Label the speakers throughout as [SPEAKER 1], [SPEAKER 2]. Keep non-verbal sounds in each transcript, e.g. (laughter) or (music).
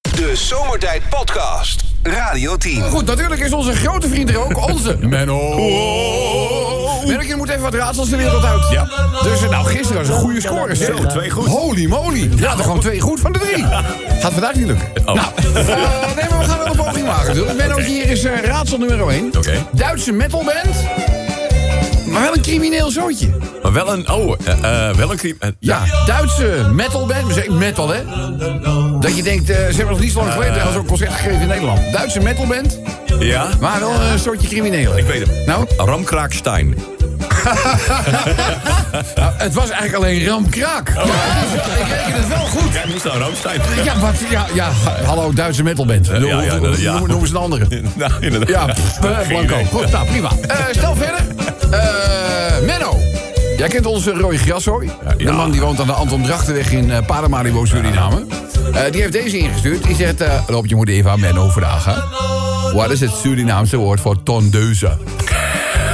[SPEAKER 1] De Zomertijd Podcast. Radio 10.
[SPEAKER 2] Goed, natuurlijk is onze grote vriend er ook,
[SPEAKER 3] (laughs)
[SPEAKER 2] onze Menno. Menno, je moet even wat raadsels de wereld uit.
[SPEAKER 3] Ja.
[SPEAKER 2] Dus eh, nou, gisteren was een goede score. Zo,
[SPEAKER 3] twee goed.
[SPEAKER 2] Holy moly. Ja, er gewoon twee goed van de drie. Gaat vandaag niet lukken.
[SPEAKER 3] Oh.
[SPEAKER 2] Nou, eh, nee, maar we gaan wel een poging maken. natuurlijk. Menno, hier is eh, raadsel nummer 1.
[SPEAKER 3] Oké.
[SPEAKER 2] Duitse metalband. Maar wel een crimineel zootje.
[SPEAKER 3] Maar wel een. Oh, eh, eh, wel een crime. eh, ja.
[SPEAKER 2] Ja, Duitse metalband, maar zeker metal hè. Dat je denkt, eh, ze hebben nog niet zo lang geleden al zo'n concert gegeven in Nederland. Duitse metalband,
[SPEAKER 3] Ja?
[SPEAKER 2] maar wel een soortje criminelen.
[SPEAKER 3] Ik weet hem.
[SPEAKER 2] Nou,
[SPEAKER 3] Ramkraakstein.
[SPEAKER 2] Eh, het was eigenlijk alleen
[SPEAKER 3] Oh.
[SPEAKER 2] ramkraak. Ik reken het wel goed.
[SPEAKER 3] Jij moest naar Ramstein. (laughs)
[SPEAKER 2] Ja, wat, ja, ja, hallo Duitse metalband. Noem,
[SPEAKER 3] ja, ja, dat- ja.
[SPEAKER 2] noem, noem eens een andere.
[SPEAKER 3] nou, inderdaad.
[SPEAKER 2] Ja, pff, eh,
[SPEAKER 3] Geen
[SPEAKER 2] Blanco.
[SPEAKER 3] idee.
[SPEAKER 2] Goed, nou prima. Eh, stel verder. Eh, Menno. Jij kent onze Roy Grashooi. De
[SPEAKER 3] ja.
[SPEAKER 2] man die woont aan de Anton Drachtenweg in eh, Paramaribo, Suriname. Eh, die heeft deze ingestuurd. Die zegt, eh Rob, je moet even aan Menno vragen. Wat is het Surinaamse woord voor tondeuze?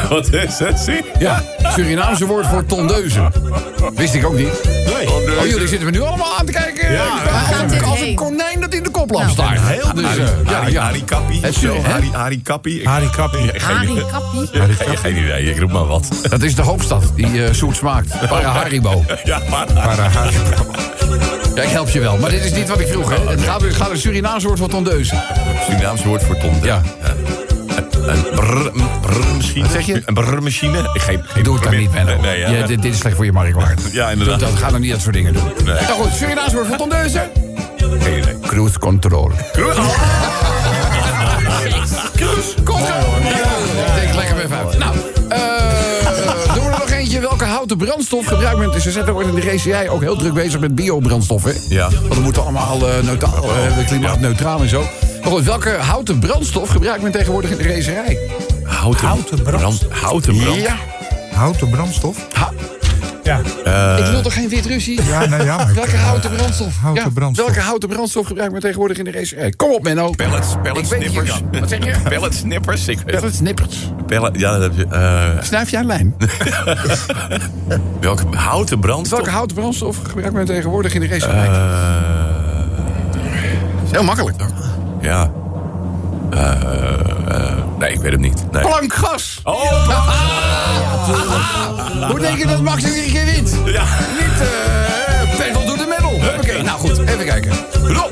[SPEAKER 3] Wat is dat? Zie?
[SPEAKER 2] Ja, Surinaamse woord voor tondeuze. Wist ik ook niet.
[SPEAKER 3] Nee.
[SPEAKER 2] Oh, jullie zitten me nu allemaal aan te kijken.
[SPEAKER 3] Ja,
[SPEAKER 2] eh,
[SPEAKER 3] waar
[SPEAKER 2] als,
[SPEAKER 4] gaat
[SPEAKER 2] een-
[SPEAKER 4] dit
[SPEAKER 2] als een
[SPEAKER 4] heen?
[SPEAKER 2] konijn dat in de koplap staat.
[SPEAKER 3] Heel
[SPEAKER 2] Dus,
[SPEAKER 3] dus,
[SPEAKER 2] eh, ja, ja.
[SPEAKER 3] Harry Kappie.
[SPEAKER 2] Het is-
[SPEAKER 3] Zo,
[SPEAKER 2] hè?
[SPEAKER 3] Harry- Harry Kappie.
[SPEAKER 5] Harry Kappie.
[SPEAKER 3] Ja, geen idee.
[SPEAKER 4] Harry Kappie.
[SPEAKER 3] Ja, geen- Geen idee, ik roep maar wat. (laughs)
[SPEAKER 2] Dat is de hoofdstad die eh zoet smaakt. Paraharibo.
[SPEAKER 3] Ja, maar.
[SPEAKER 2] Ja, ik help je wel, maar dit is niet wat ik vroeg.
[SPEAKER 3] Oh,
[SPEAKER 2] Hè. Het gaat, het gaat een Surinaams woord voor tondeus.
[SPEAKER 3] Surinaamse woord voor ton.
[SPEAKER 2] Ja.
[SPEAKER 3] Een- Een brr- een brrmachine.
[SPEAKER 2] Wat zeg je?
[SPEAKER 3] Een brrmachine. Geen, geen
[SPEAKER 2] Doe het dan
[SPEAKER 3] probeer-
[SPEAKER 2] niet, Menno.
[SPEAKER 3] Nee, ja.
[SPEAKER 2] Ja, dit, dit is slecht voor je marktwaard.
[SPEAKER 3] Ja, inderdaad.
[SPEAKER 2] Dat gaat dan niet dat soort dingen doen.
[SPEAKER 3] Nee.
[SPEAKER 2] Nou goed, Surinaams woord voor tondeuzen.
[SPEAKER 3] Geen idee.
[SPEAKER 2] Cruise control. Cruise control. Ik denk lekker weer even uit. Nou, eh, doen we er nog eentje. Welke houten brandstof gebruikt men? Ze zetten ook in de GCI ook heel druk bezig met biobrandstof, hè?
[SPEAKER 3] Ja.
[SPEAKER 2] Want we moeten allemaal eh, neutraal, eh, klimaatneutraal en zo. Maar goed, welke houten brandstof gebruikt men tegenwoordig in de racerij?
[SPEAKER 3] Houten,
[SPEAKER 5] Houten brand.
[SPEAKER 3] Houten brand.
[SPEAKER 2] Ja.
[SPEAKER 5] Houten brandstof?
[SPEAKER 2] Ha-
[SPEAKER 5] Ja.
[SPEAKER 2] ik wil toch geen Wit-Russie?
[SPEAKER 5] Ja, nou
[SPEAKER 2] (laughs)
[SPEAKER 5] ja. maar-
[SPEAKER 2] Welke houten brandstof?
[SPEAKER 5] Houten
[SPEAKER 2] Ja,
[SPEAKER 5] brandstof.
[SPEAKER 2] Welke houten brandstof gebruikt men tegenwoordig in de racerij? Kom op, Menno.
[SPEAKER 3] Pellets, pellets,
[SPEAKER 2] Ik weet het
[SPEAKER 3] nippers.
[SPEAKER 2] niet. Wat zeg
[SPEAKER 3] (laughs)
[SPEAKER 2] je?
[SPEAKER 3] Pellets, nippers. Ik weet
[SPEAKER 2] Pellets, nippers.
[SPEAKER 3] Pellen, ja, dat heb je. eh,
[SPEAKER 2] Snuif jij lijm?
[SPEAKER 3] welke houten brandstof?
[SPEAKER 2] Welke houten brandstof gebruikt men tegenwoordig in de racerij? Heel makkelijk.
[SPEAKER 3] Ja. Eh, eh, nee, ik weet hem niet. Nee.
[SPEAKER 2] Plankgas.
[SPEAKER 3] Oh, pla-
[SPEAKER 2] Hoe denk je dat Max er weer een keer wint?
[SPEAKER 3] ja.
[SPEAKER 2] Niet eh pedal door de metal. Oké, nou goed, even kijken.
[SPEAKER 3] Rob.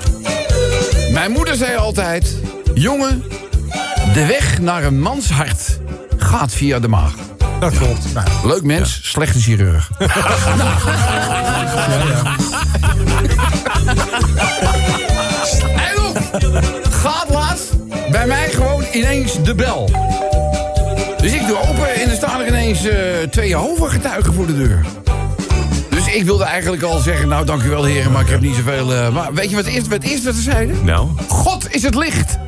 [SPEAKER 2] Mijn moeder zei altijd... Jongen, de weg naar een mans hart gaat via de maag.
[SPEAKER 5] Dat klopt. Nou,
[SPEAKER 2] Leuk mens, slechte chirurg.
[SPEAKER 5] (laughs)
[SPEAKER 2] En nog, gaat laatst bij mij gewoon ineens de bel. Dus ik doe open en er staan er ineens eh, twee Jehovah-getuigen voor de deur. Dus ik wilde eigenlijk al zeggen, nou dank u wel heren, maar ik heb niet zoveel... eh, maar weet je wat het eerste, wat het eerste dat ze zeiden?
[SPEAKER 3] Nou.
[SPEAKER 2] God is het licht.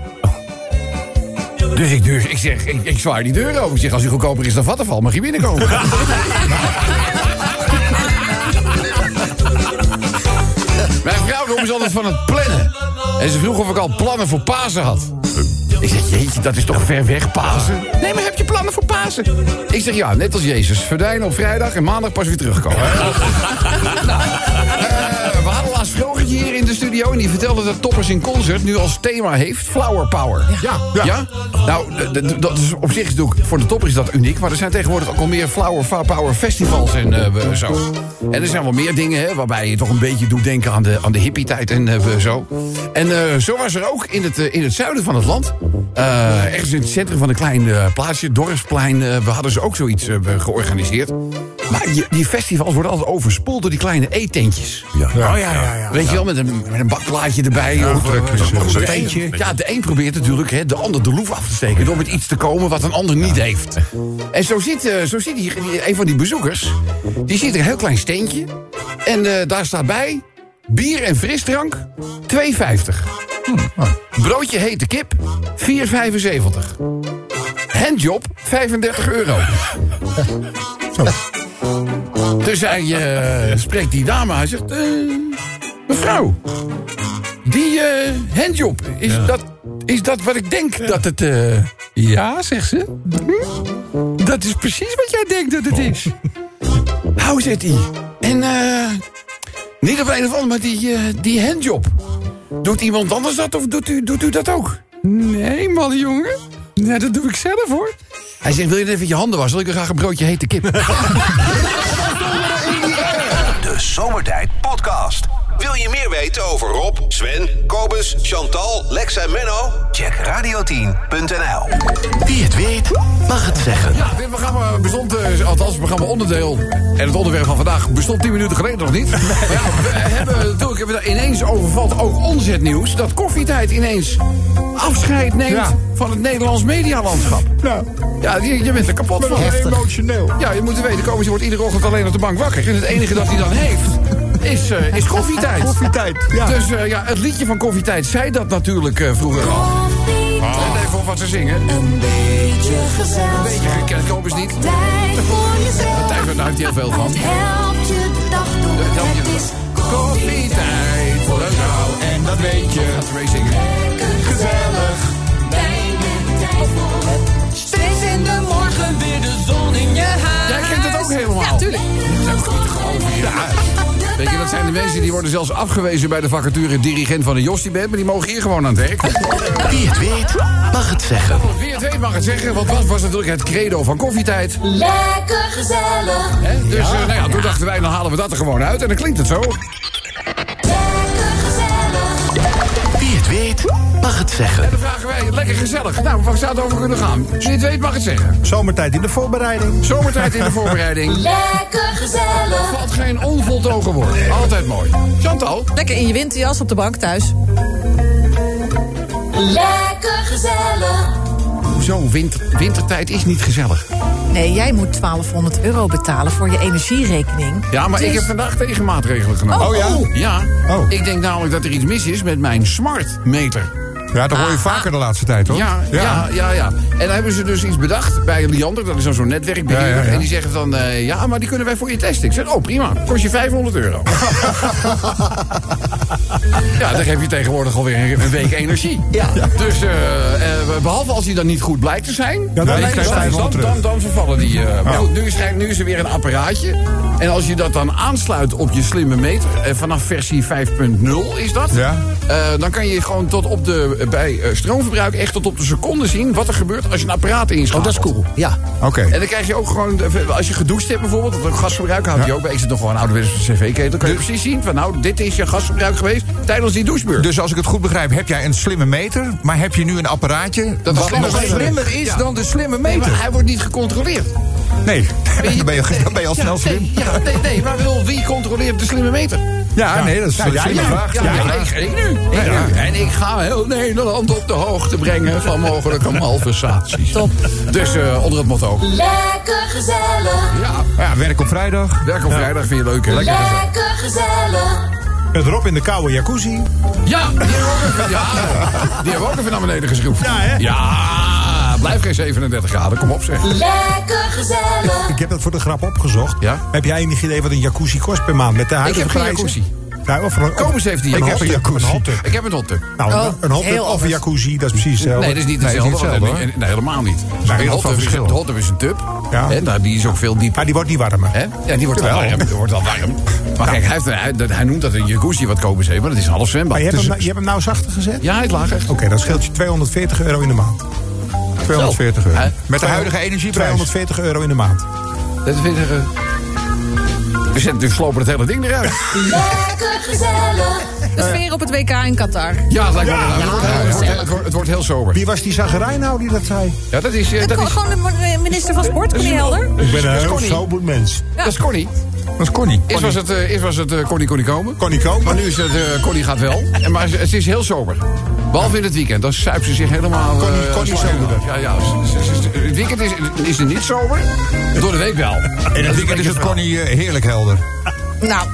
[SPEAKER 2] Dus ik, deur, ik zeg, ik, ik zwaai die deur open. Ik zeg, als u goedkoper is dan Vattenval, mag je binnenkomen. Mijn vrouw noemt ze altijd van het plannen. En ze vroeg of ik al plannen voor Pasen had. Ik zeg, jeetje, dat is toch ver weg, Pasen? Nee, maar heb je plannen voor Pasen? Ik zeg, ja, net als Jezus. Verdwijnen op vrijdag en maandag pas weer terugkomen. Eh, we hadden laatst Vrogertje hier in de studio... en die vertelde dat Toppers in Concert nu als thema heeft... Flower Power. Ja. ja. Nou, d- d- dat is op zich natuurlijk... voor de Toppers is dat uniek... maar er zijn tegenwoordig ook al meer Flower fa- Power festivals en eh, we- zo. En er zijn wel meer dingen hè, waarbij je toch een beetje doet denken... aan de, aan de hippie-tijd en eh, we- zo. En eh, zo was er ook in het, eh, in het zuiden van het land... eh, ergens in het centrum van een klein eh, plaatsje, Dorpsplein... eh, we hadden ze ook zoiets eh, georganiseerd... Maar je- die festivals worden altijd overspoeld door die kleine eetentjes.
[SPEAKER 3] Ja.
[SPEAKER 5] Oh, Ja, ja, ja, ja.
[SPEAKER 2] Weet je wel, met een, met een bakplaatje erbij. of, eh, of een eentje. Ja, de een probeert natuurlijk hè, de ander de loef af te steken... door met iets te komen wat een ander niet heeft. En zo zit, eh, zo zit hier een van die bezoekers... die ziet een heel klein steentje... en eh, daar staat bij... bier en frisdrank 2,50.
[SPEAKER 5] Hm,
[SPEAKER 2] Broodje hete kip 4,75. Handjob 35 euro. Dus hij eh, spreekt die dame. Hij zegt, eh, mevrouw, die eh, handjob, is, dat, is dat wat ik denk dat het... eh, ja, zegt ze. Hm? Dat is precies wat jij denkt dat het is. Hou zit hij. En eh, niet op een of andere, maar die, eh, die handjob. Doet iemand anders dat of doet u, doet u dat ook? Nee, man, jongen. Nee, dat doe ik zelf, hoor. Hij zegt, wil je even je handen wassen? Wil ik graag een broodje hete (laughs) kip.
[SPEAKER 1] De Zomertijd Podcast. Wil je meer weten over Rob, Sven, Kobus, Chantal, Lex en Menno? Check radio10.nl.
[SPEAKER 4] Wie het weet, mag het zeggen.
[SPEAKER 2] Ja, dit programma bestond, eh, althans het programma onderdeel en het onderwerp van vandaag bestond 10 minuten geleden nog niet. Maar ja, we hebben eh, natuurlijk hebben we ineens overvalt ook ons het nieuws dat koffietijd ineens afscheid neemt
[SPEAKER 5] Ja.
[SPEAKER 2] van het Nederlands medialandschap.
[SPEAKER 5] Nou,
[SPEAKER 2] Ja, je, je bent er kapot van.
[SPEAKER 5] nog emotioneel.
[SPEAKER 2] Ja, je moet het weten, Kobus je wordt iedere ochtend alleen op de bank wakker. En het enige dat hij dan heeft is, eh, is koffietijd.
[SPEAKER 5] Koffietijd. Ja.
[SPEAKER 2] Dus eh, ja, het liedje van koffietijd zei dat natuurlijk eh, vroeger al. Let even op wat ze zingen.
[SPEAKER 6] Een beetje
[SPEAKER 2] Een
[SPEAKER 6] gezellig.
[SPEAKER 2] beetje gekend, Kobus niet.
[SPEAKER 6] Tijd voor jezelf.
[SPEAKER 2] Tijd voor- daar heeft hij heel veel van.
[SPEAKER 6] Het helpt je de dag door.
[SPEAKER 2] Dat helpt je
[SPEAKER 6] Het
[SPEAKER 2] de
[SPEAKER 6] is koffietijd.
[SPEAKER 2] voor een vrouw en dat weet je.
[SPEAKER 6] Gezellig. Wijn en tijd voor het. Steeds in de morgen weer de zon in je haar.
[SPEAKER 2] Jij kent het ook helemaal.
[SPEAKER 6] Ja, tuurlijk.
[SPEAKER 2] Ja. Weet je, dat zijn de mensen die worden zelfs afgewezen bij de vacature dirigent van de Jostie Band, maar die mogen hier gewoon aan het werk.
[SPEAKER 4] Wie het weet, mag het zeggen.
[SPEAKER 2] Wie het weet mag het zeggen, want dat was natuurlijk het credo van koffietijd.
[SPEAKER 6] Lekker gezellig.
[SPEAKER 2] Hè? Dus eh, nou ja, toen dachten wij, dan halen we dat er gewoon uit en dan klinkt het zo. En
[SPEAKER 6] Lekker gezellig.
[SPEAKER 4] Wie het weet, mag het zeggen.
[SPEAKER 2] dan vragen wij, lekker gezellig. Nou, waar zou het over kunnen gaan? Wie het weet mag het zeggen.
[SPEAKER 5] Zomertijd in de voorbereiding.
[SPEAKER 2] Zomertijd in de voorbereiding.
[SPEAKER 6] Lekker gezellig.
[SPEAKER 2] Valt geen onvoltogen woord. Altijd mooi. Chantal?
[SPEAKER 7] Lekker in je winterjas op de bank thuis.
[SPEAKER 6] Lekker gezellig.
[SPEAKER 2] Hoezo? Winter, wintertijd is niet gezellig.
[SPEAKER 7] Nee, jij moet 1200 euro betalen voor je energierekening.
[SPEAKER 2] Ja, maar ik
[SPEAKER 7] Dus-
[SPEAKER 2] heb vandaag tegenmaatregelen genomen.
[SPEAKER 7] Oh, Oh ja? oh.
[SPEAKER 2] Ja.
[SPEAKER 5] Oh.
[SPEAKER 2] Ik denk namelijk dat er iets mis is met mijn smartmeter.
[SPEAKER 5] Ja, dat hoor je vaker de laatste tijd, hoor.
[SPEAKER 2] Ja, ja, ja, ja, En dan hebben ze dus iets bedacht bij Liander, dat is dan zo'n netwerkbeheerder.
[SPEAKER 5] Ja, ja, ja.
[SPEAKER 2] En die zeggen dan, eh, ja, maar die kunnen wij voor je testen. Ik zeg, oh prima, kost je 500
[SPEAKER 5] (laughs)
[SPEAKER 2] euro. ja, dan geef je tegenwoordig alweer een- een week energie. Ja. Dus eh, eh, behalve als die dan niet goed blijkt te zijn,
[SPEAKER 5] dan
[SPEAKER 2] dan,
[SPEAKER 5] lijkt het
[SPEAKER 2] dan,
[SPEAKER 5] vijfhonderd
[SPEAKER 2] dan,
[SPEAKER 5] terug.
[SPEAKER 2] dan- dan vervallen die. eh, maar goed, nu is, er- nu is er weer een apparaatje. En als je dat dan aansluit op je slimme meter, eh, vanaf versie 5.0 is dat.
[SPEAKER 5] Ja.
[SPEAKER 2] eh, dan kan je gewoon tot op de, eh, bij eh, stroomverbruik echt tot op de seconde zien wat er gebeurt als je een apparaat inschakelt. Oh, dat is cool. Ja.
[SPEAKER 5] Oké.
[SPEAKER 2] En dan krijg je ook gewoon, de- als je gedoucht hebt bijvoorbeeld, dat gasverbruik houdt je ook bij. Ik zit nog gewoon ouderwets op cv-ketel. Kan je
[SPEAKER 8] Dus-
[SPEAKER 2] precies zien van nou, dit is je gasverbruik geweest tijdens die douchebeurt.
[SPEAKER 8] Dus als ik het goed begrijp, heb jij een slimme meter, maar heb je nu een apparaatje
[SPEAKER 2] Dat is
[SPEAKER 8] wat
[SPEAKER 2] slimmer.
[SPEAKER 8] nog slimmer is
[SPEAKER 2] Ja.
[SPEAKER 8] dan de slimme
[SPEAKER 2] Nee, maar
[SPEAKER 8] meter?
[SPEAKER 2] hij wordt niet gecontroleerd.
[SPEAKER 8] (laughs) Nee, dan ben je, dan ben je al
[SPEAKER 2] Ja,
[SPEAKER 8] snel slim.
[SPEAKER 2] Nee, ja, nee, nee, maar wil, wie controleert de slimme meter?
[SPEAKER 8] Ja, nee, dat is
[SPEAKER 5] Ja,
[SPEAKER 8] een
[SPEAKER 5] ja,
[SPEAKER 8] slimme
[SPEAKER 5] ja.
[SPEAKER 8] vraag.
[SPEAKER 2] Ja,
[SPEAKER 8] Ja.
[SPEAKER 2] ik, ik nu. Ik
[SPEAKER 8] Ja.
[SPEAKER 2] nu. En ik ga heel Nederland op de hoogte brengen van mogelijke malversaties.
[SPEAKER 7] Top.
[SPEAKER 2] Dus eh, onder het motto.
[SPEAKER 6] Lekker gezellig.
[SPEAKER 2] Ja,
[SPEAKER 8] Ja, werk op vrijdag.
[SPEAKER 2] werk op vrijdag vind je leuk, hè?
[SPEAKER 6] Lekker gezellig.
[SPEAKER 5] Met Rob in de koude jacuzzi.
[SPEAKER 2] Ja, die hebben we ook even, ja, die hebben we ook even naar beneden geschroefd.
[SPEAKER 5] Ja, hè?
[SPEAKER 2] Ja, blijf geen 37 graden, kom op zeg.
[SPEAKER 6] Lekker gezellig.
[SPEAKER 5] Ik heb dat voor de grap opgezocht.
[SPEAKER 2] Ja?
[SPEAKER 5] Heb jij enig idee wat een jacuzzi kost per maand met de huidige
[SPEAKER 2] heb geen
[SPEAKER 5] prijzen?
[SPEAKER 2] jacuzzi.
[SPEAKER 5] Ja, of een,
[SPEAKER 2] Kobus heeft die.
[SPEAKER 5] Ik
[SPEAKER 2] een
[SPEAKER 5] heb een
[SPEAKER 2] hot tub.
[SPEAKER 5] jacuzzi.
[SPEAKER 2] hot tub. Ik heb een hot tub.
[SPEAKER 5] Nou,
[SPEAKER 7] Oh,
[SPEAKER 5] een hot tub
[SPEAKER 7] heel
[SPEAKER 5] of een
[SPEAKER 7] anders.
[SPEAKER 5] jacuzzi, dat is precies hetzelfde.
[SPEAKER 2] Nee, dat is niet
[SPEAKER 8] Nee, dat is
[SPEAKER 2] hetzelfde.
[SPEAKER 8] niet hetzelfde,
[SPEAKER 2] nee, nee, helemaal niet.
[SPEAKER 8] heel
[SPEAKER 2] Een
[SPEAKER 8] veel
[SPEAKER 2] hot tub is-
[SPEAKER 8] verschil.
[SPEAKER 2] Een hot tub is een tub.
[SPEAKER 5] Ja.
[SPEAKER 2] Hè, nou, die is ook veel dieper.
[SPEAKER 5] Maar ah, die wordt niet warmer.
[SPEAKER 2] Hè? Ja, die wordt wel
[SPEAKER 5] Jawel.
[SPEAKER 2] warm. Die wordt wel warm. Maar kijk, hij, heeft, een- hij, dat- hij noemt dat een jacuzzi wat Kobus heeft, maar dat is een half zwembad.
[SPEAKER 5] Maar je hebt,
[SPEAKER 2] Dus-
[SPEAKER 5] hem, Oh. nou- je hebt hem nou zachter gezet?
[SPEAKER 2] Ja, hij is lager.
[SPEAKER 5] Oké, dan scheelt je 240 euro in de maand. 240
[SPEAKER 2] Hè?
[SPEAKER 5] euro.
[SPEAKER 8] Met de huidige energieprijs.
[SPEAKER 5] 240 euro in de maand.
[SPEAKER 2] Dat vind ik, eh, we, zetten, we slopen het hele ding eruit.
[SPEAKER 6] Lekker gezellig.
[SPEAKER 7] De sfeer op het WK in Qatar.
[SPEAKER 2] Ja, het lijkt me wel. Het wordt- het wordt- het wordt- Het wordt heel sober.
[SPEAKER 5] Wie was die zagerij nou die dat zei?
[SPEAKER 2] Ja, dat is... eh,
[SPEAKER 7] De
[SPEAKER 2] dat
[SPEAKER 7] ko-
[SPEAKER 2] is
[SPEAKER 7] Gewoon de minister van Sport, meneer Helder.
[SPEAKER 5] Ik ben
[SPEAKER 2] een heel sober
[SPEAKER 5] mens.
[SPEAKER 2] dat is Connie.
[SPEAKER 8] Dat is Connie.
[SPEAKER 2] Eerst was het, eh, eerst was het eh, Connie, Connie komen.
[SPEAKER 5] Connie Koop.
[SPEAKER 2] Maar nu is het eh, Connie gaat wel. En, maar ze- het is heel sober. Behalve in het weekend. Dan suipt ze zich helemaal... eh,
[SPEAKER 5] Connie- Connie
[SPEAKER 2] zwaar.
[SPEAKER 5] soberder.
[SPEAKER 2] Ja, ja. ze- ze- ze- ze- Het weekend is, is er niet sober. Door de week wel.
[SPEAKER 8] En het weekend is het Connie eh, heerlijk helder.
[SPEAKER 7] Nou.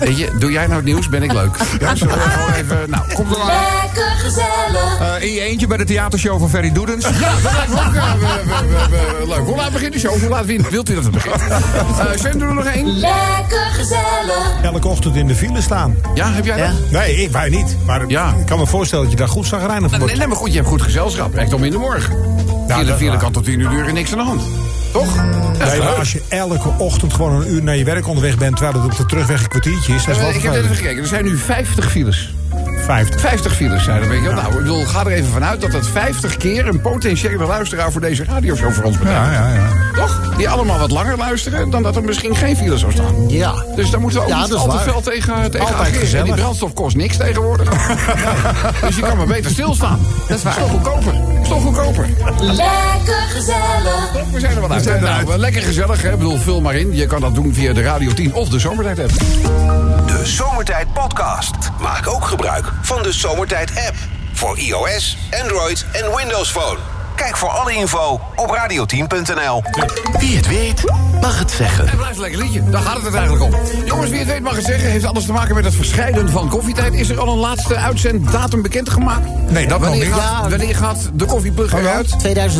[SPEAKER 2] Weet je, doe jij nou het nieuws, ben ik leuk. (laughs) Ja, zullen we gewoon even... Nou, kom er aan.
[SPEAKER 6] Lekker gezellig.
[SPEAKER 8] Eh, in je eentje bij de theatershow van Ferry Doedens.
[SPEAKER 2] Ja, dat lijkt me ook eh, we- we- we- we- leuk. Hoe laat begint de show? Hoe laat wint? Wilt u dat het begint? Eh Sven, doen we er nog één?
[SPEAKER 6] Lekker gezellig.
[SPEAKER 5] Elke ochtend in de file staan.
[SPEAKER 2] Ja, heb jij dat?
[SPEAKER 5] Nee, ik, wij niet. Maar
[SPEAKER 2] Ja.
[SPEAKER 5] ik kan me voorstellen dat je daar goed zagrijnig van
[SPEAKER 2] Nee,
[SPEAKER 5] wordt.
[SPEAKER 2] nee, maar goed, je hebt goed gezelschap. Echt om in de morgen.
[SPEAKER 5] dat
[SPEAKER 2] Vier
[SPEAKER 5] is
[SPEAKER 2] vier
[SPEAKER 5] waar.
[SPEAKER 2] kan tot tien uur duren, niks aan de hand. Toch? Dat is
[SPEAKER 5] Nee, maar
[SPEAKER 2] leuk.
[SPEAKER 5] als je elke ochtend gewoon een uur naar je werk onderweg bent... terwijl het op de terugweg een kwartiertje is, dat is wel
[SPEAKER 2] Eh, Ik heb net even
[SPEAKER 5] vervelend.
[SPEAKER 2] gekeken. Er zijn nu 50 files.
[SPEAKER 5] 50.
[SPEAKER 2] 50 files zijn er. Weet je. wel. Nou, ik bedoel, ga er even vanuit dat dat 50 keer een potentiële luisteraar voor deze radioshow voor ons betekent.
[SPEAKER 5] Ah,
[SPEAKER 8] Ja, ja, ja.
[SPEAKER 2] Toch? Die allemaal wat langer luisteren dan dat er misschien geen file zou staan.
[SPEAKER 9] Ja.
[SPEAKER 2] Dus daar moeten we ook
[SPEAKER 9] Ja,
[SPEAKER 2] niet
[SPEAKER 9] dat is
[SPEAKER 2] al te
[SPEAKER 9] waar.
[SPEAKER 2] veel tegen, tegen
[SPEAKER 9] Altijd
[SPEAKER 2] ageren.
[SPEAKER 9] gezellig.
[SPEAKER 2] Die brandstof kost niks tegenwoordig. Nee. Dus je kan maar beter stilstaan. Dat is waar. Is toch goedkoper. Is toch goedkoper.
[SPEAKER 6] Lekker gezellig.
[SPEAKER 2] Toch, We zijn er wel uit. Nou, eh, lekker gezellig. Hè? Ik bedoel, vul maar in. Je kan dat doen via de Radio 10 of de Zomertijd app.
[SPEAKER 1] De Zomertijd Podcast. Maak ook gebruik van de Zomertijd app. Voor iOS, Android en Windows Phone. Kijk voor alle info op radio10.nl.
[SPEAKER 4] Wie het weet, mag het zeggen.
[SPEAKER 2] Het blijft een lekker liedje. Daar gaat het eigenlijk om. Jongens, wie het weet mag het zeggen. Heeft alles te maken met het verscheiden van koffietijd. Is er al een laatste uitzenddatum bekendgemaakt?
[SPEAKER 8] Nee, dat nog
[SPEAKER 2] wanneer
[SPEAKER 8] niet.
[SPEAKER 2] Gaat,
[SPEAKER 9] Ja.
[SPEAKER 2] wanneer gaat de koffieplug eruit?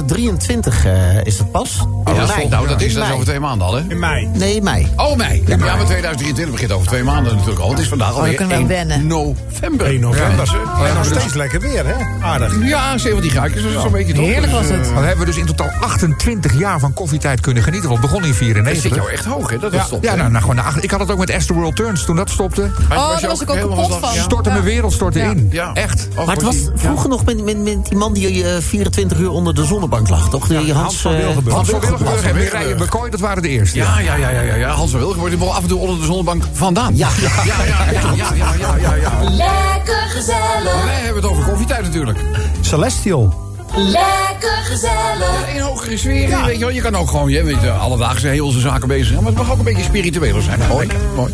[SPEAKER 9] 2023 eh, is het pas.
[SPEAKER 2] Oh, dat
[SPEAKER 9] In
[SPEAKER 2] is
[SPEAKER 9] mei.
[SPEAKER 2] vol- nou, dat is
[SPEAKER 9] In
[SPEAKER 2] dat is
[SPEAKER 9] mei.
[SPEAKER 2] over twee maanden al, hè?
[SPEAKER 5] In mei.
[SPEAKER 9] Nee, mei.
[SPEAKER 2] Oh, mei. Ja, maar 2023 begint over twee maanden natuurlijk al. Het is vandaag
[SPEAKER 7] we
[SPEAKER 2] alweer
[SPEAKER 7] Oh, kunnen wel
[SPEAKER 2] 1
[SPEAKER 7] wennen.
[SPEAKER 2] november.
[SPEAKER 5] 1 november.
[SPEAKER 2] Ja,
[SPEAKER 5] Maar nog
[SPEAKER 2] dus-
[SPEAKER 5] steeds lekker weer, hè? Aardig.
[SPEAKER 2] Ja, 17 graadjes was het zo'n beetje toch?
[SPEAKER 7] Heerlijk was
[SPEAKER 2] Dus,
[SPEAKER 7] het.
[SPEAKER 2] eh,
[SPEAKER 8] Dan hebben we dus in totaal 28 jaar van koffietijd kunnen genieten. Want het begon in
[SPEAKER 2] Het zit
[SPEAKER 8] 94.
[SPEAKER 2] jou echt hoog, hè? Dat is
[SPEAKER 8] Ja,
[SPEAKER 2] top.
[SPEAKER 8] ja nou, nou, gewoon de acht- ik had het ook met Esther World Turns toen dat stopte.
[SPEAKER 7] Oh, daar was ik ook kapot van.
[SPEAKER 8] Stortte
[SPEAKER 7] Ja.
[SPEAKER 8] mijn wereld stortte
[SPEAKER 7] Ja.
[SPEAKER 8] in.
[SPEAKER 2] Ja. Oh,
[SPEAKER 8] Echt.
[SPEAKER 9] Maar het was vroeger nog met, met, met die man die eh, 24 uur onder de zonnebank lag, toch? Die Hans,
[SPEAKER 5] van
[SPEAKER 9] eh,
[SPEAKER 5] Wilgenburg.
[SPEAKER 8] Hans van
[SPEAKER 9] Wilgenburg.
[SPEAKER 8] Wilgenburg en Mireille Bekooi, dat waren de eerste.
[SPEAKER 2] Ja, ja, ja, ja, ja, ja. Hans van Wilgen wordt wel af en toe onder de zonnebank vandaan.
[SPEAKER 9] Ja.
[SPEAKER 2] ja, ja, ja, ja, ja, ja, ja, ja.
[SPEAKER 6] Lekker
[SPEAKER 2] Maar
[SPEAKER 6] gezellig.
[SPEAKER 2] Wij hebben het over koffietijd natuurlijk.
[SPEAKER 5] Celestial.
[SPEAKER 6] Lekker gezellig.
[SPEAKER 2] In hogere sfeer, weet je wel. Je kan ook gewoon, je weet, eh, alledaagse hemelse zaken bezig zijn. Maar het mag ook een beetje spiritueler zijn. Mooi, mooi.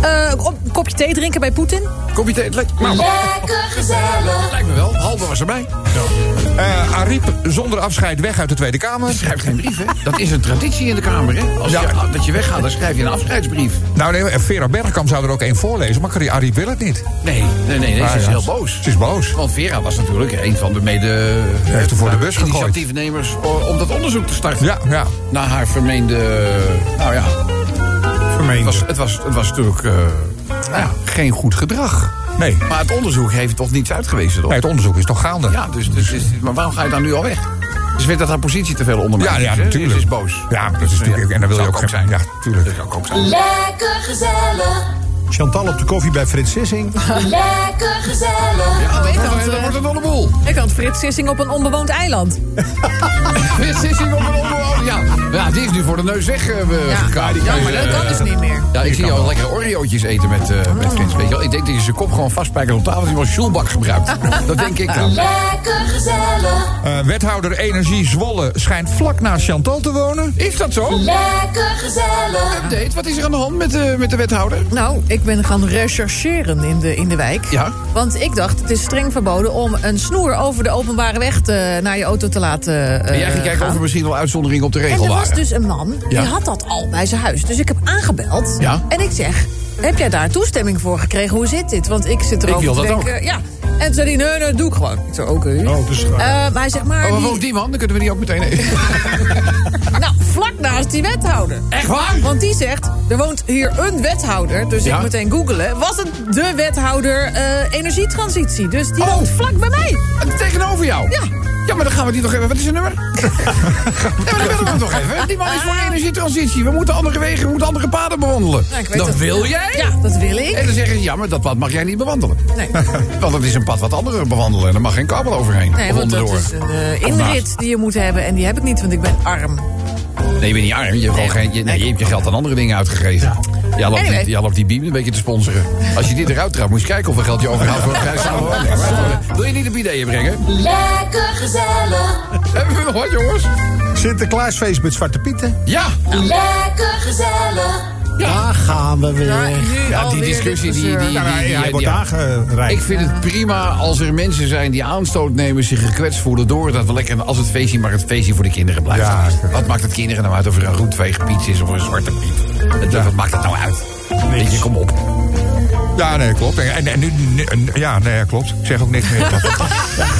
[SPEAKER 7] Eh, op- een kopje thee drinken bij Poetin?
[SPEAKER 2] Koffietijd, lijkt, nou,
[SPEAKER 6] Lekker gezellig.
[SPEAKER 2] lijkt me wel. Halve was erbij.
[SPEAKER 8] Eh, Ariep zonder afscheid weg uit de Tweede Kamer.
[SPEAKER 2] Schrijf geen brief, hè. Dat is een traditie in de Kamer, hè. Als je, dat je weggaat, dan schrijf je een afscheidsbrief.
[SPEAKER 8] Nou, nee, Vera Bergkamp zou er ook één voorlezen, maar Kari- Ariep wil het niet.
[SPEAKER 2] Nee, nee, nee, nee
[SPEAKER 8] Ah,
[SPEAKER 2] ze is
[SPEAKER 8] ja.
[SPEAKER 2] heel boos.
[SPEAKER 8] Ze is boos.
[SPEAKER 2] Want Vera was natuurlijk een van de mede... eh,
[SPEAKER 8] heeft hem voor de bus gegooid.
[SPEAKER 2] ...initiatiefnemers o- om dat onderzoek te starten.
[SPEAKER 8] Ja, ja.
[SPEAKER 2] Naar haar vermeende... Nou ja, het was,
[SPEAKER 5] Vermeend.
[SPEAKER 2] het was, het was natuurlijk eh, nou ja, geen goed gedrag.
[SPEAKER 8] Nee.
[SPEAKER 2] Maar het onderzoek heeft toch niets uitgewezen, toch?
[SPEAKER 8] Nee, het onderzoek is toch gaande?
[SPEAKER 2] Ja, dus, dus, is- maar waarom ga je dan nu al weg? Ze vindt dat haar positie te veel ondermijnt.
[SPEAKER 8] ja, ja,
[SPEAKER 2] is, hè?
[SPEAKER 8] natuurlijk.
[SPEAKER 2] Ze is boos.
[SPEAKER 8] Ja, dat is natuurlijk. En dan wil je
[SPEAKER 2] Zou
[SPEAKER 8] ook
[SPEAKER 2] ik ook zijn.
[SPEAKER 8] geen- Ja, tuurlijk.
[SPEAKER 2] Dat kan ook zijn.
[SPEAKER 6] Lekker gezellig.
[SPEAKER 5] Chantal op de koffie bij Frits Sissing.
[SPEAKER 6] Lekker gezellig.
[SPEAKER 2] Ja, dat
[SPEAKER 7] ik
[SPEAKER 2] wordt-
[SPEAKER 7] had,
[SPEAKER 2] dat Nou,
[SPEAKER 7] eh,
[SPEAKER 2] wordt een dolle boel.
[SPEAKER 7] Ik had Frits Sissing op een onbewoond eiland.
[SPEAKER 2] Dit is hier nog een onbewoonde. Ja. ja, die is nu voor de neus eh, weggekaapt.
[SPEAKER 7] ja, maar dat kan dus niet meer.
[SPEAKER 2] Eh,
[SPEAKER 7] Oh.
[SPEAKER 2] Ja, ik zie jou lekker Oreo'tjes eten met, eh met Frits. Weet je wel? Ik denk dat je zijn kop gewoon vastspijkert op tafel. Dat hij wel Schulbak
[SPEAKER 7] (laughs)
[SPEAKER 2] gebruikt. dat denk ik dan.
[SPEAKER 6] Lekker gezellig.
[SPEAKER 8] Eh, wethouder Energie Zwolle schijnt vlak naast Chantal te wonen.
[SPEAKER 2] Is dat zo?
[SPEAKER 6] Lekker gezellig.
[SPEAKER 2] Update, wat is er aan de hand met, de- met de wethouder?
[SPEAKER 7] Nou, ik ben gaan rechercheren in de, in de wijk.
[SPEAKER 2] Ja.
[SPEAKER 7] Want ik dacht, het is streng verboden om een snoer over de openbare weg te, naar je auto te laten eh,
[SPEAKER 2] En jij ging kijken
[SPEAKER 7] gaan.
[SPEAKER 2] of er misschien wel uitzonderingen op de
[SPEAKER 7] En
[SPEAKER 2] regel
[SPEAKER 7] er was
[SPEAKER 2] waren.
[SPEAKER 7] dus een man,
[SPEAKER 2] Ja.
[SPEAKER 7] die had dat al bij zijn huis. Dus ik heb aangebeld
[SPEAKER 2] Ja.
[SPEAKER 7] en ik zeg... heb jij daar toestemming voor gekregen? Hoe zit dit? Want ik zit erover
[SPEAKER 2] wil
[SPEAKER 7] te
[SPEAKER 2] dat
[SPEAKER 7] denken. Ja. En toen zei hij, nee, nee, dat doe ik gewoon. Ik zei, oké.
[SPEAKER 5] Oh, dus, eh,
[SPEAKER 7] Eh, maar hij zegt, maar
[SPEAKER 2] Oh, waar
[SPEAKER 7] die-
[SPEAKER 2] woont die man? Dan kunnen we die ook meteen eten.
[SPEAKER 7] (laughs) nou, vlak naast die wethouder.
[SPEAKER 2] Echt waar?
[SPEAKER 7] Want die zegt, er woont hier een wethouder. Dus
[SPEAKER 2] Ja.
[SPEAKER 7] ik meteen googelen. Was het de wethouder eh, energietransitie? Dus die
[SPEAKER 2] Oh.
[SPEAKER 7] woont vlak bij mij. Nou,
[SPEAKER 2] Tegenover jou?
[SPEAKER 7] Ja.
[SPEAKER 2] Ja, maar dan gaan we die toch even... Wat is zijn nummer? (laughs) ja, maar dan willen we hem toch even. Die man is voor energietransitie. We moeten andere wegen, we moeten andere paden bewandelen.
[SPEAKER 7] Nou, Ah. ik weet
[SPEAKER 2] dat
[SPEAKER 7] het.
[SPEAKER 2] wil jij?
[SPEAKER 7] Ja, dat wil ik.
[SPEAKER 2] En dan zeggen ze, ja, maar dat pad mag jij niet bewandelen. (laughs)
[SPEAKER 7] Nee.
[SPEAKER 2] Want het is een pad wat anderen bewandelen. En er mag geen kabel overheen.
[SPEAKER 7] Nee,
[SPEAKER 2] of
[SPEAKER 7] want dat
[SPEAKER 2] onderdoor.
[SPEAKER 7] is een eh, inrit die je moet hebben. En die heb ik niet, want ik ben arm.
[SPEAKER 2] Eh, Nee, je bent niet arm. Je hebt, gewoon geen, je, nee, je, hebt je geld aan andere dingen uitgegeven. Jij loopt,
[SPEAKER 7] Anyway.
[SPEAKER 2] die, jij loopt die beam een beetje te sponsoren. Als je dit eruit trapt, moet je eens kijken hoeveel geld je overhoudt voor een prijs samen
[SPEAKER 7] (laughs)
[SPEAKER 2] wonen. Wil je niet op ideeën brengen?
[SPEAKER 6] Lekker gezellig.
[SPEAKER 2] Hebben we nog wat, jongens?
[SPEAKER 5] Sinterklaasfeest met Zwarte Pieten.
[SPEAKER 2] Ja!
[SPEAKER 6] Lekker gezellig.
[SPEAKER 9] Daar gaan we weer.
[SPEAKER 7] Nou, nu
[SPEAKER 2] Ja, die
[SPEAKER 7] alweer
[SPEAKER 2] discussie,
[SPEAKER 7] dit
[SPEAKER 2] die... die,
[SPEAKER 7] gezeur.
[SPEAKER 2] die, die,
[SPEAKER 5] Nou, ja,
[SPEAKER 2] die-
[SPEAKER 5] hij wordt
[SPEAKER 2] die-
[SPEAKER 5] aangereikt.
[SPEAKER 2] Ik vind het prima als er mensen zijn die aanstoot nemen, zich gekwetst voelen door dat we lekker als het feestje maar het feestje voor de kinderen blijft.
[SPEAKER 5] Ja, zeker.
[SPEAKER 2] Wat maakt het kinderen nou uit of er een roetveegpiet is of een zwarte piet? Het- Wat maakt het nou uit? Weet je, kom op.
[SPEAKER 8] Ja, nee, klopt. En, en, en nu, nu- en- ja, nee, klopt. Ik zeg ook niks meer.
[SPEAKER 2] (laughs)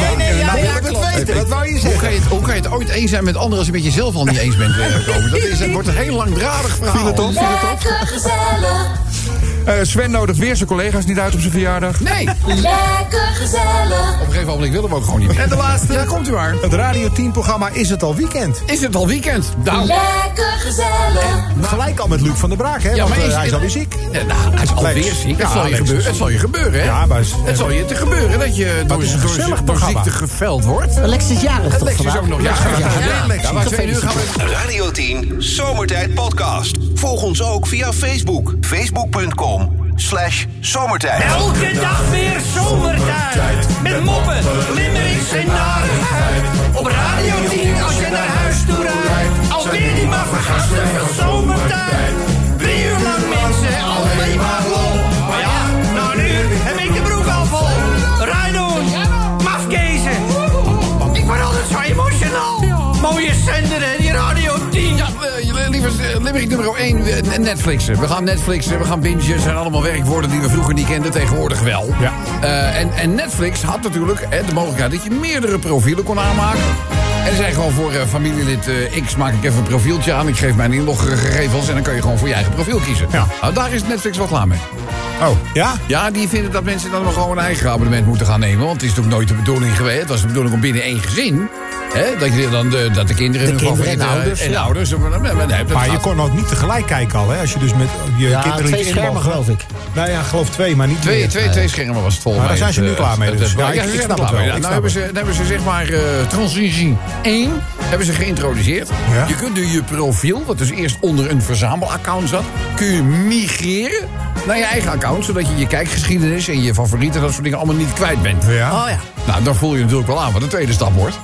[SPEAKER 7] Nee, nee, ja, ja,
[SPEAKER 8] ik het
[SPEAKER 7] klopt.
[SPEAKER 8] weten. Wat wou je
[SPEAKER 2] Hoe kan, je het, hoe kan je het ooit eens zijn met anderen als je met jezelf al niet eens bent? weer, Kopen? Dat, is, dat wordt een heel langdradig verhaal.
[SPEAKER 8] Viel het op?
[SPEAKER 6] Lekker gezellig.
[SPEAKER 8] Eh, Sven nodigt weer zijn collega's niet uit op zijn verjaardag.
[SPEAKER 2] Nee, op een
[SPEAKER 6] Lekker gezellig.
[SPEAKER 2] gegeven moment willen we ook gewoon niet meer.
[SPEAKER 5] En de laatste.
[SPEAKER 2] Ja, komt u maar.
[SPEAKER 5] Het Radio 10 programma Is het al weekend?
[SPEAKER 2] Is het al weekend? Nou,
[SPEAKER 6] Lekker gezellig.
[SPEAKER 5] Gelijk al met Luc van der Braak, hè?
[SPEAKER 2] Ja,
[SPEAKER 5] want
[SPEAKER 2] maar
[SPEAKER 5] eh,
[SPEAKER 2] is-
[SPEAKER 5] hij is alweer ziek.
[SPEAKER 2] eh, nou, hij is alweer
[SPEAKER 5] Lex.
[SPEAKER 2] ziek.
[SPEAKER 5] Ja,
[SPEAKER 2] Het zal je
[SPEAKER 5] Lex
[SPEAKER 2] gebeuren,
[SPEAKER 5] is
[SPEAKER 2] het zal je gebeuren, hè?
[SPEAKER 5] Ja, maar is-
[SPEAKER 2] Het zal je te gebeuren dat je door,
[SPEAKER 5] is een
[SPEAKER 2] door,
[SPEAKER 5] gezellig
[SPEAKER 2] door
[SPEAKER 5] programma.
[SPEAKER 2] ziekte geveld wordt.
[SPEAKER 9] Lex is jarig toch
[SPEAKER 2] Lex is
[SPEAKER 9] vandaag?
[SPEAKER 2] ook nog... Ja, ja, ja, ja,
[SPEAKER 5] Lex.
[SPEAKER 2] Ja, maar twee uur gaan we...
[SPEAKER 1] Radio 10 Zomertijd Podcast. Volg ons ook via Facebook. Facebook.com slash zomertijd.
[SPEAKER 10] Elke dag weer zomertijd. Met moppen, limmerings en narigheid. Op Radio 10 als je naar huis toe rijdt. Alweer die maar vergasten van zomertijd. Drie uur lang mensen, alleen maar lol. Maar ja, nou nu heb ik de broek al vol. Rijdoen, mafkezen. Ik word altijd zo emotional. Mooie zender hè, die Radio 10.
[SPEAKER 2] Ja, eh, lievers, eh, limerick nummer 1, Netflixen. We gaan Netflixen, we gaan bingen. Er zijn allemaal werkwoorden die we vroeger niet kenden, tegenwoordig wel.
[SPEAKER 5] Ja.
[SPEAKER 2] Eh, en, en Netflix had natuurlijk eh, de mogelijkheid dat je meerdere profielen kon aanmaken. En zei gewoon voor eh, familielid eh, X maak ik even een profieltje aan. Ik geef mijn inloggegevens en dan kan je gewoon voor je eigen profiel kiezen.
[SPEAKER 5] Ja.
[SPEAKER 2] Nou, daar is Netflix wat klaar mee.
[SPEAKER 5] Oh, ja?
[SPEAKER 2] Ja, die vinden dat mensen dan maar gewoon een eigen abonnement moeten gaan nemen. Want het is natuurlijk nooit de bedoeling geweest. Het was de bedoeling om binnen één gezin. Hè, dat, je dan de, dat de kinderen hun
[SPEAKER 9] kinderen
[SPEAKER 2] favoriete-
[SPEAKER 9] en ouders,
[SPEAKER 2] En
[SPEAKER 9] ja.
[SPEAKER 2] ouders. Maar, maar- maar- nee, dat
[SPEAKER 5] Maar je
[SPEAKER 2] gaat-
[SPEAKER 5] kon ook niet tegelijk kijken al, hè? Als je dus met je
[SPEAKER 9] Ja,
[SPEAKER 5] kinderen
[SPEAKER 9] twee
[SPEAKER 5] iets
[SPEAKER 9] schermen
[SPEAKER 5] inloggen.
[SPEAKER 9] geloof ik.
[SPEAKER 5] Nou ja, geloof twee, maar niet
[SPEAKER 2] Twee,
[SPEAKER 5] meer.
[SPEAKER 2] twee, twee schermen was het volgens
[SPEAKER 5] Maar
[SPEAKER 2] mij.
[SPEAKER 5] daar zijn ze
[SPEAKER 2] het,
[SPEAKER 5] nu klaar
[SPEAKER 2] eh,
[SPEAKER 5] mee
[SPEAKER 2] het-
[SPEAKER 5] dus.
[SPEAKER 2] het-
[SPEAKER 5] Ja,
[SPEAKER 2] ja,
[SPEAKER 5] ik-
[SPEAKER 2] ze
[SPEAKER 5] ik
[SPEAKER 2] zijn
[SPEAKER 5] snap
[SPEAKER 2] er
[SPEAKER 5] het
[SPEAKER 2] klaar mee.
[SPEAKER 5] wel, ik
[SPEAKER 2] Nou
[SPEAKER 5] snap
[SPEAKER 2] hebben ze,
[SPEAKER 5] het.
[SPEAKER 2] dan hebben ze zeg maar eh, transitie 1 hebben ze geïntroduceerd.
[SPEAKER 5] Ja.
[SPEAKER 2] Je kunt nu je profiel, wat dus eerst onder een verzamelaccount zat... kun je migreren naar je eigen account... zodat je je kijkgeschiedenis en je favorieten... dat soort dingen allemaal niet kwijt bent.
[SPEAKER 5] Ja,
[SPEAKER 9] Oh ja.
[SPEAKER 2] Nou, dan voel je natuurlijk wel aan wat de tweede stap wordt.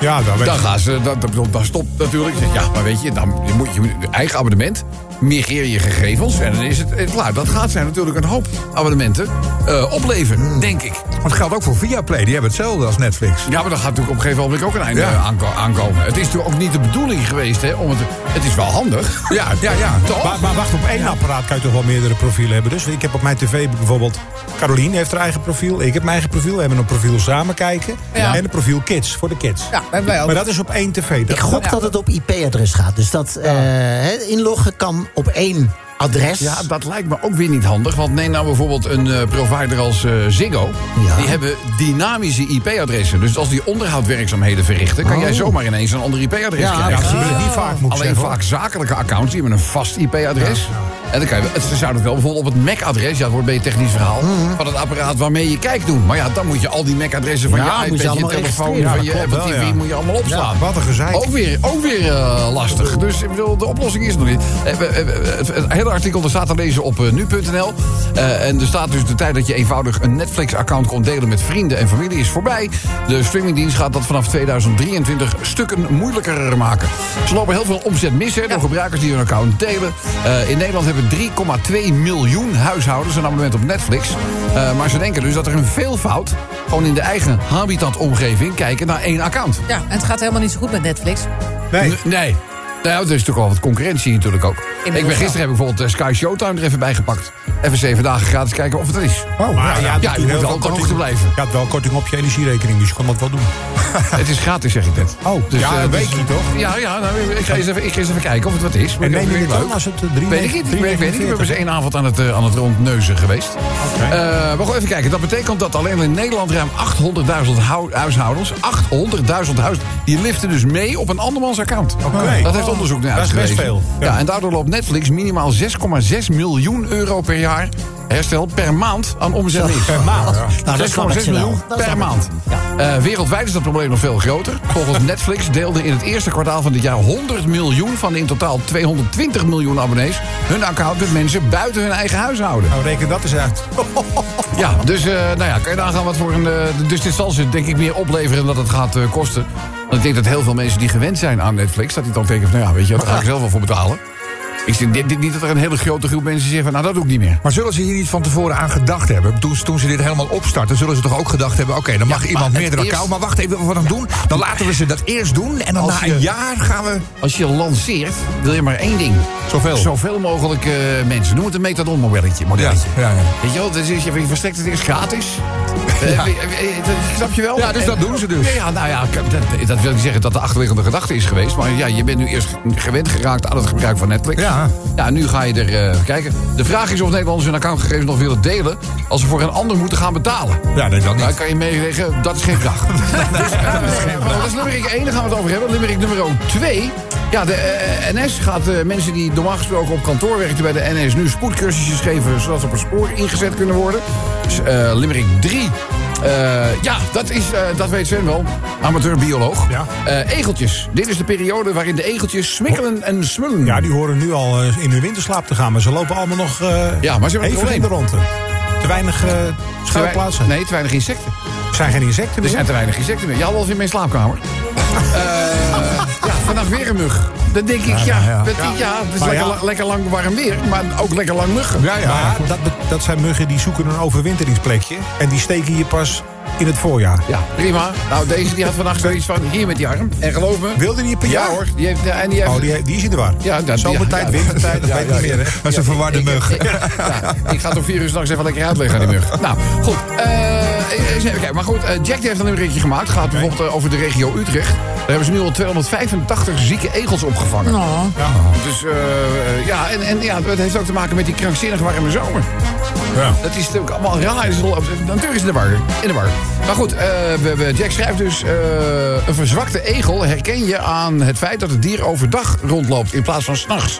[SPEAKER 5] ja daar
[SPEAKER 2] Dan
[SPEAKER 5] werd
[SPEAKER 2] gaan ze, dan, dan, dan stopt natuurlijk. Zeg, Ja, maar weet je, dan je moet je je eigen abonnement. Migreer je gegevens en dan is het eh, klaar. Dat gaat zij natuurlijk een hoop abonnementen eh, opleveren,
[SPEAKER 8] Hmm.
[SPEAKER 2] denk ik.
[SPEAKER 8] Want het geldt ook voor Viaplay, die hebben hetzelfde als Netflix.
[SPEAKER 2] Ja, maar dan gaat natuurlijk op een gegeven moment ook een einde
[SPEAKER 8] Ja.
[SPEAKER 2] eh, aanko- aankomen. Het is natuurlijk ook niet de bedoeling geweest, hè? Om het, het is wel handig.
[SPEAKER 8] Ja, ja, ja.
[SPEAKER 2] (laughs) Toch?
[SPEAKER 5] Maar, maar wacht, op één apparaat kan je toch wel meerdere profielen hebben. Dus ik heb op mijn tv bijvoorbeeld... Caroline heeft haar eigen profiel, ik heb mijn eigen profiel. We hebben een profiel samen kijken.
[SPEAKER 2] Ja.
[SPEAKER 5] En een profiel kids, voor de kids.
[SPEAKER 2] Ja, hebben wij ook.
[SPEAKER 5] Maar dat is op één tv. Dat,
[SPEAKER 9] Ik gok
[SPEAKER 5] dat-
[SPEAKER 9] dat het op IP-adres gaat. Dus dat eh, hè, inloggen kan op één adres.
[SPEAKER 2] Ja, dat lijkt me ook weer niet handig. Want neem nou bijvoorbeeld een eh, provider als eh, Ziggo.
[SPEAKER 9] Ja.
[SPEAKER 2] Die hebben dynamische IP-adressen. Dus als die onderhoudwerkzaamheden verrichten...
[SPEAKER 8] Oh.
[SPEAKER 2] kan jij zomaar ineens een ander IP-adres
[SPEAKER 9] Ja,
[SPEAKER 2] krijgen.
[SPEAKER 5] Ja, dat gebeurt niet vaak, moet ik
[SPEAKER 2] Alleen
[SPEAKER 5] zeggen. hoor.
[SPEAKER 2] vaak zakelijke accounts, die hebben een vast IP-adres. En dan kan je, wel- ze zouden het wel bijvoorbeeld op het MAC-adres, ja, dat wordt bij je technisch verhaal,
[SPEAKER 5] Mhm.
[SPEAKER 2] van het apparaat waarmee je kijkt doen. Maar ja, dan moet je al die MAC-adressen van
[SPEAKER 9] Ja, moet
[SPEAKER 2] je
[SPEAKER 9] je
[SPEAKER 2] iPad, je,
[SPEAKER 9] allemaal
[SPEAKER 2] telefoon,
[SPEAKER 9] registreren.
[SPEAKER 2] van
[SPEAKER 5] Ja,
[SPEAKER 2] je
[SPEAKER 5] dat
[SPEAKER 2] Apple
[SPEAKER 5] klopt
[SPEAKER 2] TV,
[SPEAKER 5] wel, ja.
[SPEAKER 2] moet je allemaal opslaan.
[SPEAKER 5] wat een gezeik.
[SPEAKER 2] Ook weer, ook weer eh, lastig. Dus ik bedoel, de oplossing is er nog niet. Eh, we- eh, we- Het, het hele artikel er staat te lezen op eh, nu.nl. Eh, en er staat dus de tijd dat je eenvoudig een Netflix-account kon delen met vrienden en familie is voorbij. De streamingdienst gaat dat vanaf 2023 stukken moeilijker maken. Ze lopen heel veel omzet mis hè, door gebruikers die hun account delen. Eh, in Nederland hebben 3,2 miljoen huishoudens een abonnement op Netflix. Eh, maar ze denken dus dat er een veelvoud gewoon in de eigen habitatomgeving kijken naar één account.
[SPEAKER 7] Ja, en het gaat helemaal niet zo goed met Netflix.
[SPEAKER 5] Nee.
[SPEAKER 2] N- Nee. Nou, ja, er is natuurlijk al wat concurrentie natuurlijk ook. Ik ben
[SPEAKER 7] Inderdaad.
[SPEAKER 2] gisteren heb ik bijvoorbeeld eh, Sky Showtime er even bij gepakt. Even zeven dagen gratis kijken of het er is.
[SPEAKER 5] Oh, maar ja,
[SPEAKER 2] Ah, ja, je moet wel op de hoogte blijven.
[SPEAKER 5] Je had wel korting op je energierekening, dus je kon dat wel doen.
[SPEAKER 2] (laughs)
[SPEAKER 5] (laughs)
[SPEAKER 2] Het is gratis, zeg ik net.
[SPEAKER 5] Oh, ja,
[SPEAKER 2] eh,
[SPEAKER 5] een weekje toch?
[SPEAKER 2] Ja, ja nou, ik, ga eens even, ik ga eens even kijken of het wat is. Maar
[SPEAKER 5] En
[SPEAKER 2] ik-
[SPEAKER 5] neem je
[SPEAKER 2] ik-
[SPEAKER 5] het
[SPEAKER 2] leuk.
[SPEAKER 5] dan als het eh, drie
[SPEAKER 2] Weet ik niet. Ik weet, ik weet niet. We hebben ze één avond aan het, eh, aan het rondneuzen geweest. Eh, maar gewoon even kijken. Dat betekent dat alleen in Nederland ruim 800.000 hou- huishoudens... 800.000 huis die liften dus mee op een andermans account.
[SPEAKER 5] Oké.
[SPEAKER 2] Dat heeft onderzoek naar
[SPEAKER 5] Dat is best
[SPEAKER 2] uitgewezen.
[SPEAKER 5] veel.
[SPEAKER 2] Ja. en daardoor loopt Netflix minimaal 6,6 miljoen euro per jaar... herstel per maand aan omzet mis.
[SPEAKER 5] Per maand.
[SPEAKER 9] Nou, dat snap ik
[SPEAKER 2] 6,6
[SPEAKER 9] ze wel.
[SPEAKER 2] miljoen
[SPEAKER 9] Dat
[SPEAKER 2] per
[SPEAKER 9] snap ik.
[SPEAKER 2] maand. Eh, wereldwijd is dat probleem nog veel groter.
[SPEAKER 9] (laughs)
[SPEAKER 2] Volgens Netflix deelden in het eerste kwartaal van dit jaar 100 miljoen van de in totaal 220 miljoen abonnees hun account met mensen buiten hun eigen huishouden.
[SPEAKER 5] Nou, reken dat eens uit.
[SPEAKER 2] Ja, dus eh, nou ja, kan je nagaan wat voor een. eh, dus dit zal ze denk ik meer opleveren dan dat het gaat eh, kosten. Want ik denk dat heel veel mensen die gewend zijn aan Netflix, dat die dan denken van nou ja, weet je, daar ga ik zelf wel voor betalen. Ik zie dit, dit niet dat er een hele grote groep mensen zegt van nou dat doe ik niet meer.
[SPEAKER 8] Maar zullen ze hier niet van tevoren aan gedacht hebben? Toen, toen ze dit helemaal opstarten, zullen ze toch ook gedacht hebben... oké, dan mag iemand
[SPEAKER 2] het
[SPEAKER 8] meerdere
[SPEAKER 2] eerst-
[SPEAKER 8] account, maar wacht even, wat we dan doen? Dan laten we ze dat eerst doen en dan
[SPEAKER 2] Als
[SPEAKER 8] na
[SPEAKER 2] je-
[SPEAKER 8] een jaar gaan we...
[SPEAKER 2] Als je lanceert, wil je maar één ding.
[SPEAKER 8] Zoveel.
[SPEAKER 2] Zoveel mogelijk eh, mensen. Noem het een metadon modelletje. modelletje.
[SPEAKER 8] Ja, ja, ja.
[SPEAKER 2] Weet je wel, dus je verstrekt het eerst gratis. Eh, eh, eh, dat Snap je wel?
[SPEAKER 8] Ja, dus
[SPEAKER 2] En-
[SPEAKER 8] dat doen ze dus.
[SPEAKER 2] Ja, ja, nou ja, ik- dat, dat wil niet zeggen dat de achterliggende gedachte is geweest. Maar ja, je bent nu eerst gewend geraakt aan het gebruik van Netflix.
[SPEAKER 8] Ja.
[SPEAKER 2] Ja, nu ga je er eh, kijken. De vraag is of Nederlanders hun accountgegevens nog willen delen... als ze voor een ander moeten gaan betalen.
[SPEAKER 5] Ja, nee, dat
[SPEAKER 2] Nou,
[SPEAKER 5] niet.
[SPEAKER 2] dan kan je meeleggen, dat is geen
[SPEAKER 5] (laughs)
[SPEAKER 2] vraag. Dus, eh, dat is nummer 1, daar gaan we het over hebben. Nummer nummer 2. Ja, de eh, NS gaat eh, mensen die normaal gesproken op kantoor werkten bij de NS... nu spoedcursusjes geven, zodat ze op een spoor ingezet kunnen worden. Dus eh Limerick 3. Eh, ja, dat, is, eh, dat weet Sven wel. Amateurbioloog.
[SPEAKER 5] Ja.
[SPEAKER 2] Eh, egeltjes. Dit is de periode waarin de egeltjes smikkelen en smullen.
[SPEAKER 5] Ja, die horen nu al eh, in hun winterslaap te gaan, maar ze lopen allemaal nog eh
[SPEAKER 2] Ja, maar ze hebben een
[SPEAKER 5] even
[SPEAKER 2] probleem.
[SPEAKER 5] in de ronde. Te weinig eh
[SPEAKER 2] Te wei-
[SPEAKER 5] schuilplaatsen.
[SPEAKER 2] Nee, te weinig insecten.
[SPEAKER 5] Er zijn geen insecten
[SPEAKER 2] Er
[SPEAKER 5] meer.
[SPEAKER 2] zijn te weinig insecten meer. Ja, wel eens in mijn slaapkamer. Eh, ja, vannacht weer een mug. Dan denk ik, ja,
[SPEAKER 5] ja.
[SPEAKER 2] met die- ja, het is
[SPEAKER 5] Maar
[SPEAKER 2] lekker,
[SPEAKER 5] ja.
[SPEAKER 2] la- lekker lang warm weer, maar ook lekker lang muggen.
[SPEAKER 5] ja, ja, maar dat, be- dat zijn muggen die zoeken een overwinteringsplekje. En die steken hier pas in het voorjaar.
[SPEAKER 2] Ja, prima. Nou, deze die had vannacht zoiets van, hier met die arm. En geloof me...
[SPEAKER 5] Wilde die een per
[SPEAKER 2] ja,
[SPEAKER 5] jaar?
[SPEAKER 2] hoor. Die heeft, ja, en die heeft,
[SPEAKER 5] Oh, die, die is in de war.
[SPEAKER 2] Ja, dat-
[SPEAKER 5] Zomertijd,
[SPEAKER 2] ja, ja.
[SPEAKER 5] wintertijd, dat
[SPEAKER 2] Ja,
[SPEAKER 5] weet ik
[SPEAKER 2] ja,
[SPEAKER 5] niet
[SPEAKER 2] ja.
[SPEAKER 5] meer. hè.
[SPEAKER 8] Dat is een verwarde
[SPEAKER 2] Ik-
[SPEAKER 8] mug.
[SPEAKER 2] Ik, (laughs) ja, ik ga het om vier uur s'nachts even lekker uitleggen aan die mug. Nou, goed. Eh, eens even kijken. Maar goed, eh, Jack die heeft een nummertje gemaakt. Gaat bijvoorbeeld eh, over de regio Utrecht. Daar hebben ze nu al 285 zieke egels opgevangen.
[SPEAKER 7] Nou,
[SPEAKER 2] Dus eh, eh, ja, en, en ja, het heeft ook te maken met die krankzinnig warme zomer.
[SPEAKER 5] Ja.
[SPEAKER 2] Dat is natuurlijk allemaal raar. Het is wel- Natuurlijk is het in de war. In de war. Maar goed, eh, we, we- Jack schrijft dus... eh, een verzwakte egel herken je aan het feit dat het dier overdag rondloopt... in plaats van s'nachts.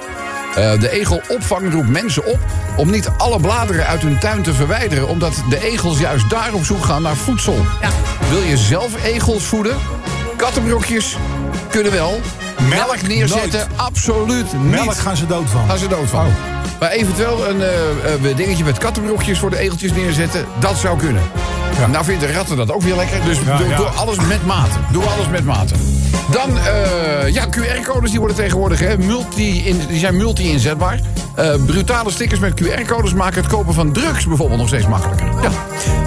[SPEAKER 2] Eh de egelopvang roept mensen op om niet alle bladeren uit hun tuin te verwijderen... omdat de egels juist daar op zoek gaan naar voedsel. Wil je zelf egels voeden? Kattenbrokjes kunnen wel. Melk,
[SPEAKER 5] Melk
[SPEAKER 2] neerzetten?
[SPEAKER 5] nooit.
[SPEAKER 2] Absoluut niet
[SPEAKER 5] Melk gaan ze dood van.
[SPEAKER 2] Nou, gaan ze dood van. Maar eventueel een eh, eh, dingetje met kattenbroekjes voor de egeltjes neerzetten, dat zou kunnen. Nou vinden de ratten dat ook weer lekker, dus
[SPEAKER 5] Ja,
[SPEAKER 2] doe,
[SPEAKER 5] ja.
[SPEAKER 2] doe alles met mate. Doe alles met mate. Dan, eh, ja, QR-codes die worden tegenwoordig, hè, multi in, die zijn multi-inzetbaar. Eh, brutale stickers met QR-codes maken het kopen van drugs bijvoorbeeld nog steeds makkelijker. Ja.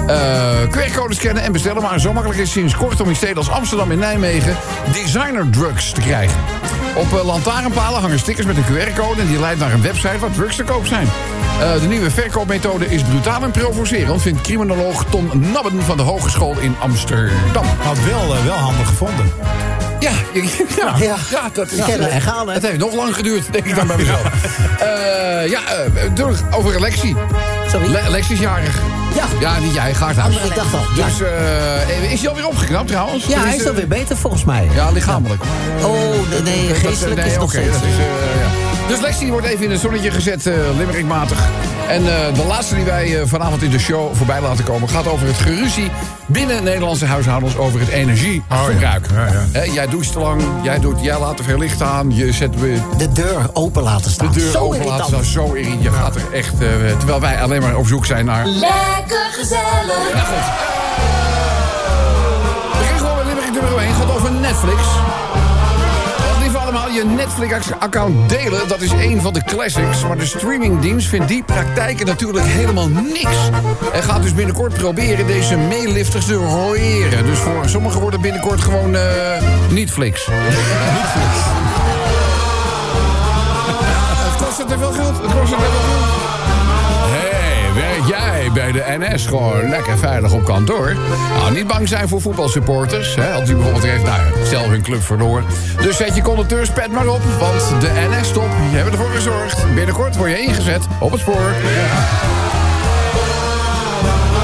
[SPEAKER 2] Eh, QR-codes scannen en bestellen, maar zo makkelijk is sinds kort om in steden als Amsterdam en Nijmegen designer drugs te krijgen. Op eh, lantaarnpalen hangen stickers met een QR-code... en die leidt naar een website waar drugs te koop zijn. Eh, de nieuwe verkoopmethode is brutaal en provocerend... vindt criminoloog Ton Nabben van de Hogeschool in Amsterdam.
[SPEAKER 5] Had wel, eh, wel handig gevonden.
[SPEAKER 2] Ja, (laughs) ja, ja,
[SPEAKER 9] Ja.
[SPEAKER 2] dat is...
[SPEAKER 9] Kennen en gaan, hè?
[SPEAKER 2] Het heeft nog lang geduurd, denk ik dan bij mezelf. Eh, ja, eh, door, over Lexi.
[SPEAKER 9] Sorry.
[SPEAKER 2] Le Lexi is jarig.
[SPEAKER 9] Ja.
[SPEAKER 2] Ja, niet jij, Gaarthuis.
[SPEAKER 9] Andere, ik dacht al. Ja.
[SPEAKER 2] Dus eh, is hij alweer opgeknapt trouwens?
[SPEAKER 9] Ja,
[SPEAKER 2] Of
[SPEAKER 9] hij is
[SPEAKER 2] eh,
[SPEAKER 9] alweer beter volgens mij.
[SPEAKER 2] Ja, lichamelijk.
[SPEAKER 9] Oh, nee, nee, geestelijk
[SPEAKER 2] Dat, eh,
[SPEAKER 9] is
[SPEAKER 2] nee,
[SPEAKER 9] nog
[SPEAKER 2] oké,
[SPEAKER 9] steeds.
[SPEAKER 2] dat is, eh, ja. Dus Lexi wordt even in het zonnetje gezet, eh Limerickmatig. En eh, de laatste die wij eh, vanavond in de show voorbij laten komen... gaat over het geruzie binnen Nederlandse huishoudens... over het energieverbruik.
[SPEAKER 5] Oh, ja, ja.
[SPEAKER 2] Hè, jij doucht te lang, jij, doet, jij laat te veel licht aan... je zet weer
[SPEAKER 9] De deur open laten
[SPEAKER 2] de
[SPEAKER 9] staan.
[SPEAKER 2] deur
[SPEAKER 9] Zo
[SPEAKER 2] open laten
[SPEAKER 9] irritant.
[SPEAKER 2] staan. Zo irritant. Je gaat er echt... eh, terwijl wij alleen maar op zoek zijn naar...
[SPEAKER 6] Lekker gezellig.
[SPEAKER 2] Nou goed. We gaan gewoon met Limerick nummer 1. Gaat over Netflix. Want Lieve allemaal, je Netflix-account delen, dat is één van de classics. Maar de streamingdienst vindt die praktijken natuurlijk helemaal niks. En gaat dus binnenkort proberen deze meelifters te royeren. Dus voor sommigen wordt het binnenkort gewoon eh Netflix. Het kost het te veel geld. Het kost het te veel geld. Hey, werk jij bij de NS gewoon lekker veilig op kantoor? Nou, niet bang zijn voor voetbalsupporters. Hè, als die bijvoorbeeld heeft, nou, stel hun club verloren. Dus zet je conducteurspet maar op, want de NS-top, die hebben ervoor gezorgd. Binnenkort word je ingezet op het spoor.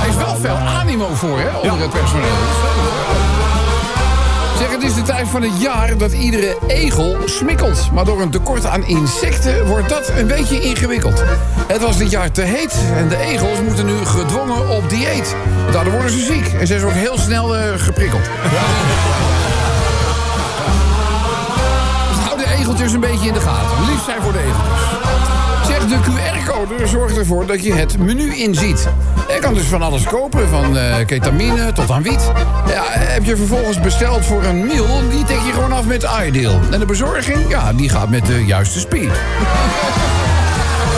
[SPEAKER 2] Er is wel veel animo voor, hè, onder het personeel. Zeg, het is de tijd van het jaar dat iedere egel smikkelt. Maar door een tekort aan insecten wordt dat een beetje ingewikkeld. Het was dit jaar te heet en de egels moeten nu gedwongen op dieet. Want Daardoor worden ze ziek en zijn ze ook heel snel eh, geprikkeld. Dus hou de egeltjes een beetje in de gaten. Lief zijn voor de egeltjes. Zeg, de QR-code zorgt ervoor dat je het menu inziet. Je kan dus van alles kopen, van eh, ketamine tot aan wiet. Ja, heb je vervolgens besteld voor een meal, die tik je gewoon af met iDeal. En de bezorging, ja, die gaat met de juiste speed.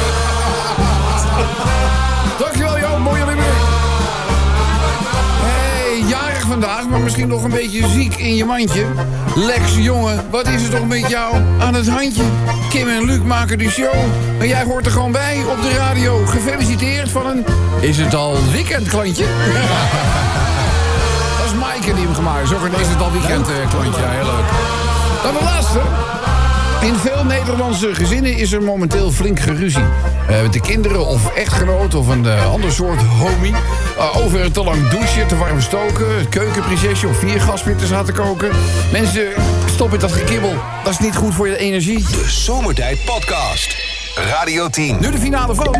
[SPEAKER 2] (laughs) Dankjewel, Joop. Mooie nummer. Hey, jarig vandaag, maar maar misschien nog een beetje ziek in je mandje. Lex, jongen, wat is er toch met jou aan het handje? Kim en Luc maken de show, maar jij hoort er gewoon bij op de radio. Gefeliciteerd van een... Is het al weekend, klantje? Dat is Maaike die hem gemaakt heeft. Zo is het al weekend, eh, klantje. Ja, heel leuk. Dan de laatste. In veel Nederlandse gezinnen is er momenteel flink geruzie. Eh, met de kinderen of echtgenoot of een eh, ander soort homie. Eh, over het te lang douchen, te warm stoken. Het keukenprinsesje of vier gaswitters laten koken. Mensen, stop met dat gekibbel. Dat is niet goed voor je energie.
[SPEAKER 1] De Zomertijd Podcast. Radio 10.
[SPEAKER 2] Nu de finale van.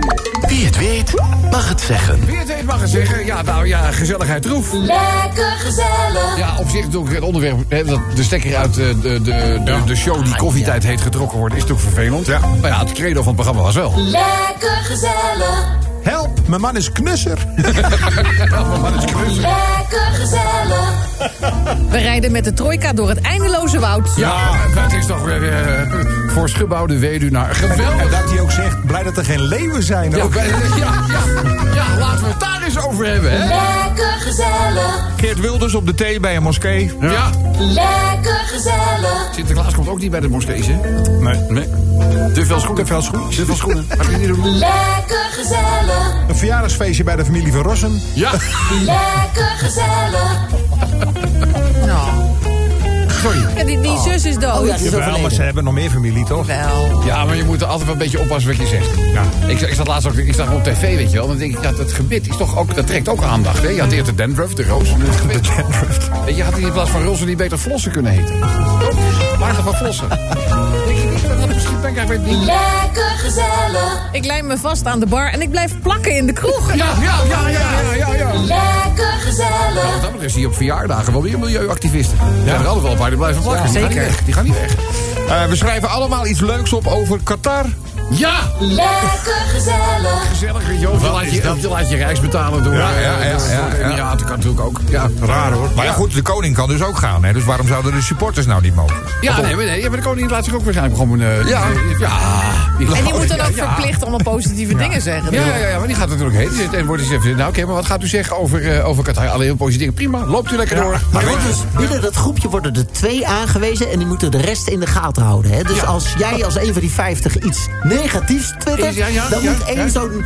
[SPEAKER 4] Wie het weet, mag het zeggen.
[SPEAKER 2] Wie het heeft mag het zeggen. Ja, nou ja, gezelligheid troef.
[SPEAKER 6] Lekker gezellig.
[SPEAKER 2] Ja, op zich natuurlijk het onderwerp hè, dat de stekker uit eh, de, de, de, de show die koffietijd heet getrokken wordt, is natuurlijk vervelend.
[SPEAKER 5] Ja.
[SPEAKER 2] Maar ja, het credo van het programma was
[SPEAKER 11] (laughs)
[SPEAKER 2] wel.
[SPEAKER 6] Lekker gezellig.
[SPEAKER 5] Help, mijn man is knusser.
[SPEAKER 6] Lekker gezellig.
[SPEAKER 7] We rijden met de trojka door het eindeloze woud.
[SPEAKER 2] Ja, dat is toch weer eh, voor schubouwde weduwnaar.
[SPEAKER 5] En
[SPEAKER 2] Geweldig.
[SPEAKER 5] dat hij ook zegt, blij dat er geen leeuwen zijn.
[SPEAKER 2] Ja,
[SPEAKER 5] ook.
[SPEAKER 2] ja, ja, ja, laten we het daar eens over hebben, hè?
[SPEAKER 6] Lekker gezellig.
[SPEAKER 11] Geert Wilders op de thee bij een moskee.
[SPEAKER 2] Ja,
[SPEAKER 6] Lekker gezellig.
[SPEAKER 2] Sinterklaas komt ook niet bij de moskees, hè?
[SPEAKER 5] Nee.
[SPEAKER 2] Nee. Te veel schoenen. Te veel schoenen. Te veel schoenen. Mag je niet doen.
[SPEAKER 6] Lekker gezellig.
[SPEAKER 5] Een verjaardagsfeestje bij de familie van Rossum.
[SPEAKER 2] Ja,
[SPEAKER 6] Lekker gezellig.
[SPEAKER 7] Nou,
[SPEAKER 2] sorry.
[SPEAKER 7] ja, die,
[SPEAKER 2] Oh.
[SPEAKER 7] die zus is dood.
[SPEAKER 5] Jawel, maar ze hebben nog meer familie, toch?
[SPEAKER 7] Wel.
[SPEAKER 2] Ja, maar je moet er altijd wel een beetje oppassen wat je zegt. Ik, ik zat laatst ook ik zag op tv, weet je wel. Dan denk ik, ja, dat gebit is toch ook, dat trekt ook aandacht. Hè? Je had eerst de dandruff, de roos. nu het gebit. Weet je, had in plaats van roze die beter flossen kunnen heten. Maarten van Flossen.
[SPEAKER 11] (laughs)
[SPEAKER 2] Denk je niet dat dat misschien ben ik eigenlijk niet.
[SPEAKER 6] Lekker gezellig.
[SPEAKER 7] Ik lijm me vast aan de bar en ik blijf plakken in de kroeg.
[SPEAKER 2] Ja, ja, ja, ja, ja, ja. ja.
[SPEAKER 6] Lekker gezellig.
[SPEAKER 2] Wat dat betreft zie je op verjaardagen wel weer milieuactivisten. Ja. er altijd wel een paar die blijven plakken. die gaan niet weg. Die gaan niet weg.
[SPEAKER 11] Eh, we schrijven allemaal iets leuks op over Qatar.
[SPEAKER 2] Ja!
[SPEAKER 6] Lekker gezellig.
[SPEAKER 2] Gezellig, Joop. Je laat je, je laat je reis betalen door...
[SPEAKER 11] Ja, ja, ja,
[SPEAKER 2] eh, door-
[SPEAKER 11] ja,
[SPEAKER 2] door de
[SPEAKER 11] ja.
[SPEAKER 2] Emiraten, kan natuurlijk ook. Ja.
[SPEAKER 5] Raar hoor.
[SPEAKER 11] Maar ja, goed, de koning kan dus ook gaan. Hè? Dus waarom zouden de supporters nou niet mogen?
[SPEAKER 2] Ja, nee, maar, nee, ja, maar de koning laat zich ook waarschijnlijk gewoon... eh ja. Ja.
[SPEAKER 7] En die moet dan
[SPEAKER 2] Oh, Ja,
[SPEAKER 7] ook
[SPEAKER 2] ja.
[SPEAKER 7] verplicht allemaal positieve dingen zeggen. Dus
[SPEAKER 2] Ja, ja, ja, maar die gaat natuurlijk heen. zitten En wordt eens even, nou oké, maar wat gaat u zeggen over, eh, over Qatar? Alleen heel positieve dingen. Prima, loopt u lekker door.
[SPEAKER 9] Maar
[SPEAKER 2] weet
[SPEAKER 9] binnen, binnen dat groepje worden er twee aangewezen en die moeten de rest in de gaten houden. Hè? Dus als jij als een van die vijftig iets negatiefs twittert,
[SPEAKER 2] Is- ja, ja,
[SPEAKER 9] dan
[SPEAKER 2] ja,
[SPEAKER 9] moet één
[SPEAKER 2] ja.
[SPEAKER 9] zo'n...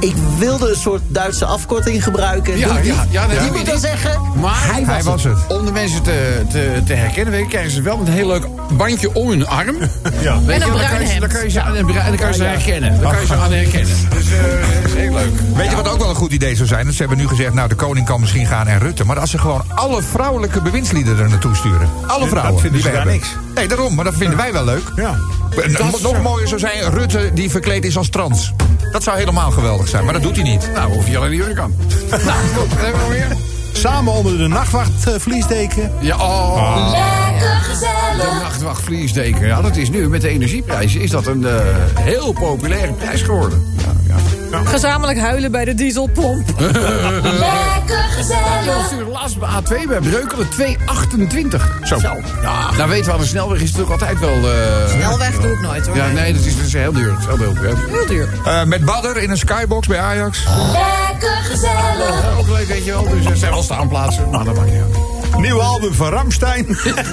[SPEAKER 9] Ik wilde een soort Duitse afkorting gebruiken.
[SPEAKER 2] Ja,
[SPEAKER 9] Doe die.
[SPEAKER 2] ja, ja, nee,
[SPEAKER 9] die
[SPEAKER 2] doe
[SPEAKER 9] moet
[SPEAKER 2] die.
[SPEAKER 9] dan zeggen,
[SPEAKER 2] Maar
[SPEAKER 9] hij was, het.
[SPEAKER 2] Om de mensen te, te, te herkennen, weet je, krijgen ze wel een heel leuk bandje om hun arm. Ja.
[SPEAKER 7] En een bruin hemd.
[SPEAKER 2] Dan kan je ze aan, en een bruin- en dan kan je ze herkennen. Dan kan je ze aan herkennen. Dus eh, dat is heel leuk.
[SPEAKER 11] Weet je wat ook wel een goed idee zou zijn? Dat ze hebben nu gezegd, nou de koning kan misschien gaan en Rutte. Maar als ze gewoon alle vrouwelijke bewindslieden er naartoe sturen. Alle vrouwen.
[SPEAKER 5] vinden
[SPEAKER 11] die
[SPEAKER 5] ze
[SPEAKER 11] we
[SPEAKER 5] daar
[SPEAKER 11] hebben. Nee, daarom. Maar dat vinden wij wel leuk.
[SPEAKER 5] Ja.
[SPEAKER 11] En Nog mooier zou zijn Rutte die verkleed is als trans. Dat zou helemaal geweldig zijn, maar dat doet hij niet.
[SPEAKER 2] Nou, hoef je alleen niet jurk aan. nou, goed, wat hebben we nog meer?
[SPEAKER 5] Samen onder de nachtwacht eh, vliesdeken.
[SPEAKER 2] Ja, oh.
[SPEAKER 6] Lekker
[SPEAKER 2] De
[SPEAKER 6] gezellig.
[SPEAKER 2] nachtwacht vliesdeken. Ja, dat is nu met de energieprijzen is dat een eh, heel populaire prijs geworden. Ja, ja.
[SPEAKER 7] Gezamenlijk huilen bij de dieselpomp.
[SPEAKER 6] Lekker
[SPEAKER 2] Ja,
[SPEAKER 6] gezellig.
[SPEAKER 2] stuur laatst bij A2 bij Breukelen 228. Zo. Ja. Nou weten we aan de snelweg is het ook altijd wel. eh,
[SPEAKER 7] Snelweg doe ik nooit hoor.
[SPEAKER 2] Ja, nee, dat is, dat is heel duur. Dat is heel duur. Ja.
[SPEAKER 7] Heel duur.
[SPEAKER 11] Eh, met Badder in een skybox bij Ajax.
[SPEAKER 6] Lekker gezellig.
[SPEAKER 2] Ja, Ook leuk, weet je wel. Dus er zijn wel staanplaatsen. Maar Nou, dat maakt niet uit.
[SPEAKER 5] Nieuw album van Ramstein.
[SPEAKER 6] Lekker